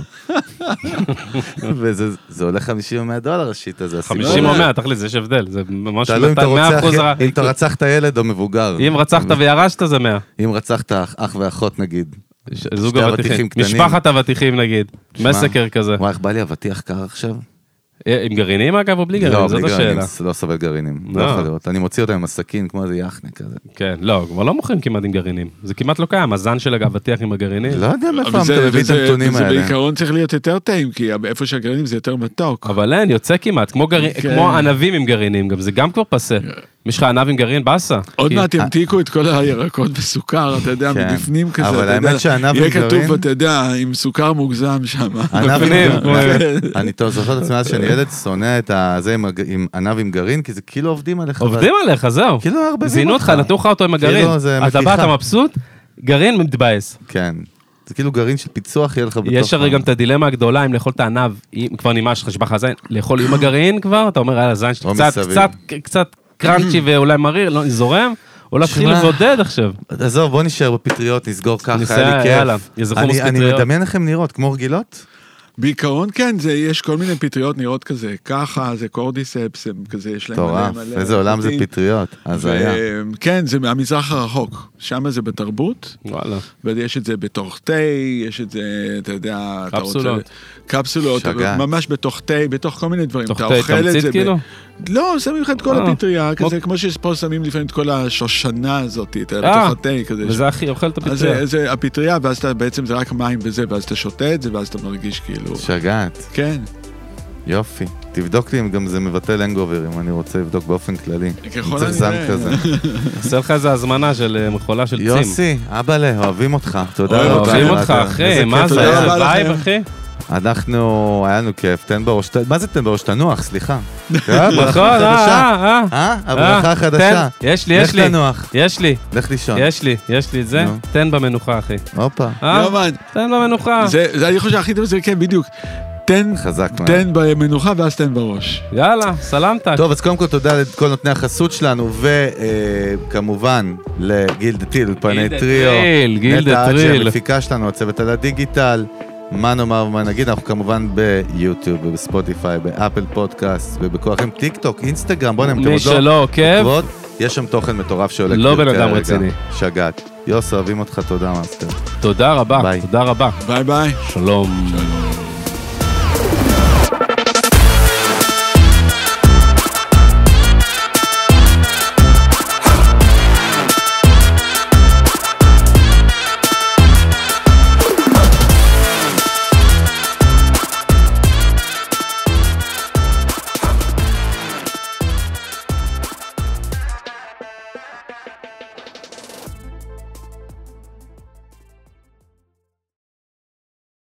Speaker 2: וזה זה עולה 50 או 100 דולר השיטה, זה הסיפור.
Speaker 1: 50 או 100, תכל'ס, יש הבדל. זה ממש
Speaker 2: תלוי אם אתה אה,
Speaker 1: 100
Speaker 2: רוצח,
Speaker 1: אחוז...
Speaker 2: אם אתה רצחת ילד או מבוגר.
Speaker 1: אם רצחת וירשת זה 100.
Speaker 2: אם רצחת אח אח ואחות נגיד.
Speaker 1: ש- זוג
Speaker 2: שתי
Speaker 1: אבטיחים.
Speaker 2: אבטיחים קטנים.
Speaker 1: משפחת אבטיחים נגיד. מסקר כזה.
Speaker 2: וואי, איך בא לי אבטיח קר עכשיו?
Speaker 1: אה, עם גרעינים אגב או בלי גרעינים?
Speaker 2: לא,
Speaker 1: זאת
Speaker 2: בלי גרעינים,
Speaker 1: השאלה.
Speaker 2: לא סובל גרעינים. לא
Speaker 1: לא.
Speaker 2: יכול לראות. אני מוציא אותם עם הסכין כמו איזה יחניק כזה.
Speaker 1: כן, לא, כבר לא מוכרים כמעט עם גרעינים. זה כמעט לא קיים, הזן של האבטיח עם הגרעינים.
Speaker 2: לא יודע מאיפה
Speaker 3: אבל זה-
Speaker 2: אתה מביא את
Speaker 3: וזה-
Speaker 2: הנתונים
Speaker 3: זה
Speaker 2: האלה.
Speaker 3: בעיקרון צריך להיות יותר טעים, כי איפה שהגרעינים זה יותר מתוק.
Speaker 1: אבל אין, יוצא כמעט, כמו, גר...
Speaker 3: כן.
Speaker 1: כמו ענבים עם גרעינים, גם זה גם כבר פסה. יש לך ענב עם גרעין, באסה.
Speaker 3: עוד
Speaker 1: כי-
Speaker 3: מעט ימתיקו את כל הירקות בסוכר, אתה יודע,
Speaker 2: כן.
Speaker 3: מבפנים כזה.
Speaker 2: אבל
Speaker 3: אתה
Speaker 2: האמת
Speaker 3: יודע,
Speaker 2: שענב עם
Speaker 3: יהיה כתוב,
Speaker 2: גרעין-
Speaker 3: אתה יודע, עם סוכר מוגזם שם.
Speaker 2: ענב עם
Speaker 1: בפנים, כמו-
Speaker 2: גרעין. אני טוב, זוכר את עצמי אז שאני ילד שונא את הזה עם הג- עם ענב עם גרעין, כי זה כאילו עובדים עליך.
Speaker 1: עובדים עליך, זהו.
Speaker 2: כאילו מערבבים
Speaker 1: זינו אותך, לא?
Speaker 2: אותך.
Speaker 1: נתנו לך אותו עם
Speaker 2: כאילו,
Speaker 1: הגרעין.
Speaker 2: זה
Speaker 1: אתה
Speaker 2: מתיחה.
Speaker 1: בא, אתה מבסוט, גרעין מתבאס.
Speaker 2: כן. זה כאילו גרעין של פיצוח יהיה לך בתוך...
Speaker 1: יש הרי
Speaker 2: ה-
Speaker 1: גם את הדילמה הגדולה אם לאכול את הענב, אם כבר נמאס לך שבח הזין, לאכול עם הגרעין כבר, אתה אומר, יאללה, הזין שלי
Speaker 2: או
Speaker 1: קצת,
Speaker 2: מסביב.
Speaker 1: קצת, קצת קראנצ'י ואולי מריר, לא, זורם, או להתחיל
Speaker 2: שמע,
Speaker 1: לבודד עכשיו.
Speaker 2: עזוב, בוא נשאר בפטריות, נסגור ככה,
Speaker 1: נסע,
Speaker 2: היה לי כיף.
Speaker 1: יאללה, יזרחו
Speaker 2: אני-
Speaker 1: מספיק
Speaker 2: אני
Speaker 1: פטריות.
Speaker 2: מדמיין לכם נראות, כמו רגילות?
Speaker 3: בעיקרון כן, זה, יש כל מיני פטריות נראות כזה, ככה, זה קורדיספס, הם כזה, יש להם
Speaker 2: מטורף,
Speaker 3: מלא מלא
Speaker 2: איזה עולם זה
Speaker 3: פרטים.
Speaker 2: פטריות, אז היה.
Speaker 3: ו- כן, זה מהמזרח הרחוק, שם זה בתרבות,
Speaker 1: וואלה.
Speaker 3: ויש את זה בתוך תה, יש את זה, אתה יודע, אתה רוצה-
Speaker 1: קפסולות.
Speaker 3: קפסולות,
Speaker 2: שגעת.
Speaker 3: ממש בתוך תה, בתוך כל מיני דברים.
Speaker 1: תוך
Speaker 3: אתה
Speaker 1: תה
Speaker 3: אוכל את
Speaker 1: תמצית
Speaker 3: זה ב-
Speaker 1: כאילו?
Speaker 3: לא, שמים לך את כל
Speaker 1: אה.
Speaker 3: הפטריה, כזה,
Speaker 1: אוקיי.
Speaker 3: כמו שפה שמים לפעמים את כל השושנה הזאת, אתה יודע,
Speaker 1: אה,
Speaker 3: בתוך התה, כזה.
Speaker 1: וזה הכי אוכל את
Speaker 3: אז
Speaker 1: הפטריה.
Speaker 3: זה- זה הפטריה, ואז אתה בעצם זה רק מים וזה, ואז אתה שותה את זה, ואז אתה מרגיש כאילו...
Speaker 2: שגעת,
Speaker 3: כן,
Speaker 2: יופי. תבדוק לי אם גם זה מבטל הנגוברים, אני רוצה לבדוק באופן כללי.
Speaker 3: ככל
Speaker 2: צריך זן
Speaker 3: הנראה.
Speaker 2: כזה.
Speaker 1: עושה לך איזה הזמנה של אה, מכולה של צים.
Speaker 2: יוסי, לא אבאלה, אוהבים אותך. תודה
Speaker 3: אוהב
Speaker 2: רבה.
Speaker 1: אוהבים
Speaker 2: רבה.
Speaker 1: אותך, אחי,
Speaker 2: איזה
Speaker 1: מה
Speaker 2: כיף
Speaker 1: זה?
Speaker 3: תודה
Speaker 2: היה.
Speaker 3: רבה
Speaker 1: וייב,
Speaker 3: לכם.
Speaker 1: אחי.
Speaker 2: אנחנו, היה לנו כיף, תן בראש, ת- מה זה תן בראש? תנוח, סליחה. אה, ברכה
Speaker 1: נכון, אה,
Speaker 2: חדשה.
Speaker 1: אה, אה.
Speaker 2: אה,
Speaker 1: אה,
Speaker 2: הברכה החדשה.
Speaker 1: תן, יש לי, יש לי.
Speaker 2: לך תנוח,
Speaker 1: יש לי,
Speaker 2: לך לישון.
Speaker 1: יש לי, יש לי את זה.
Speaker 2: נו.
Speaker 1: תן במנוחה, אחי.
Speaker 2: הופה,
Speaker 1: אה?
Speaker 3: לא, אבל
Speaker 1: תן במנוחה.
Speaker 3: זה, זה- אני חושב שהכי טוב זה כן, בדיוק. תן,
Speaker 2: חזק מאוד.
Speaker 3: תן במנוחה ואז תן בראש.
Speaker 1: יאללה, סלמתק.
Speaker 2: טוב, אז קודם כל תודה לכל נותני החסות שלנו, וכמובן לגילדה טיל, אולפני
Speaker 1: גילדה
Speaker 2: טריו.
Speaker 1: טריל, גילדה
Speaker 2: נטע אצ'י,
Speaker 1: טריל.
Speaker 2: המפיקה שלנו, הצוות על הדיגיטל. מה נאמר ומה נגיד, אנחנו כמובן ביוטיוב ובספוטיפיי, באפל פודקאסט ובכוח עם טיק טוק, אינסטגרם, בוא'נה, אם אתם
Speaker 1: מי
Speaker 2: עוד לא...
Speaker 1: שלא עוקב,
Speaker 2: עוקבות, יש שם תוכן מטורף שעולה
Speaker 1: לא
Speaker 2: כאילו
Speaker 1: בן אדם
Speaker 2: כרגע.
Speaker 1: רציני.
Speaker 2: שגעת. יוס, אוהבים אותך, תודה מאסטר.
Speaker 1: תודה רבה,
Speaker 2: לא- ביי.
Speaker 1: תודה רבה.
Speaker 3: ביי ביי.
Speaker 1: שלום.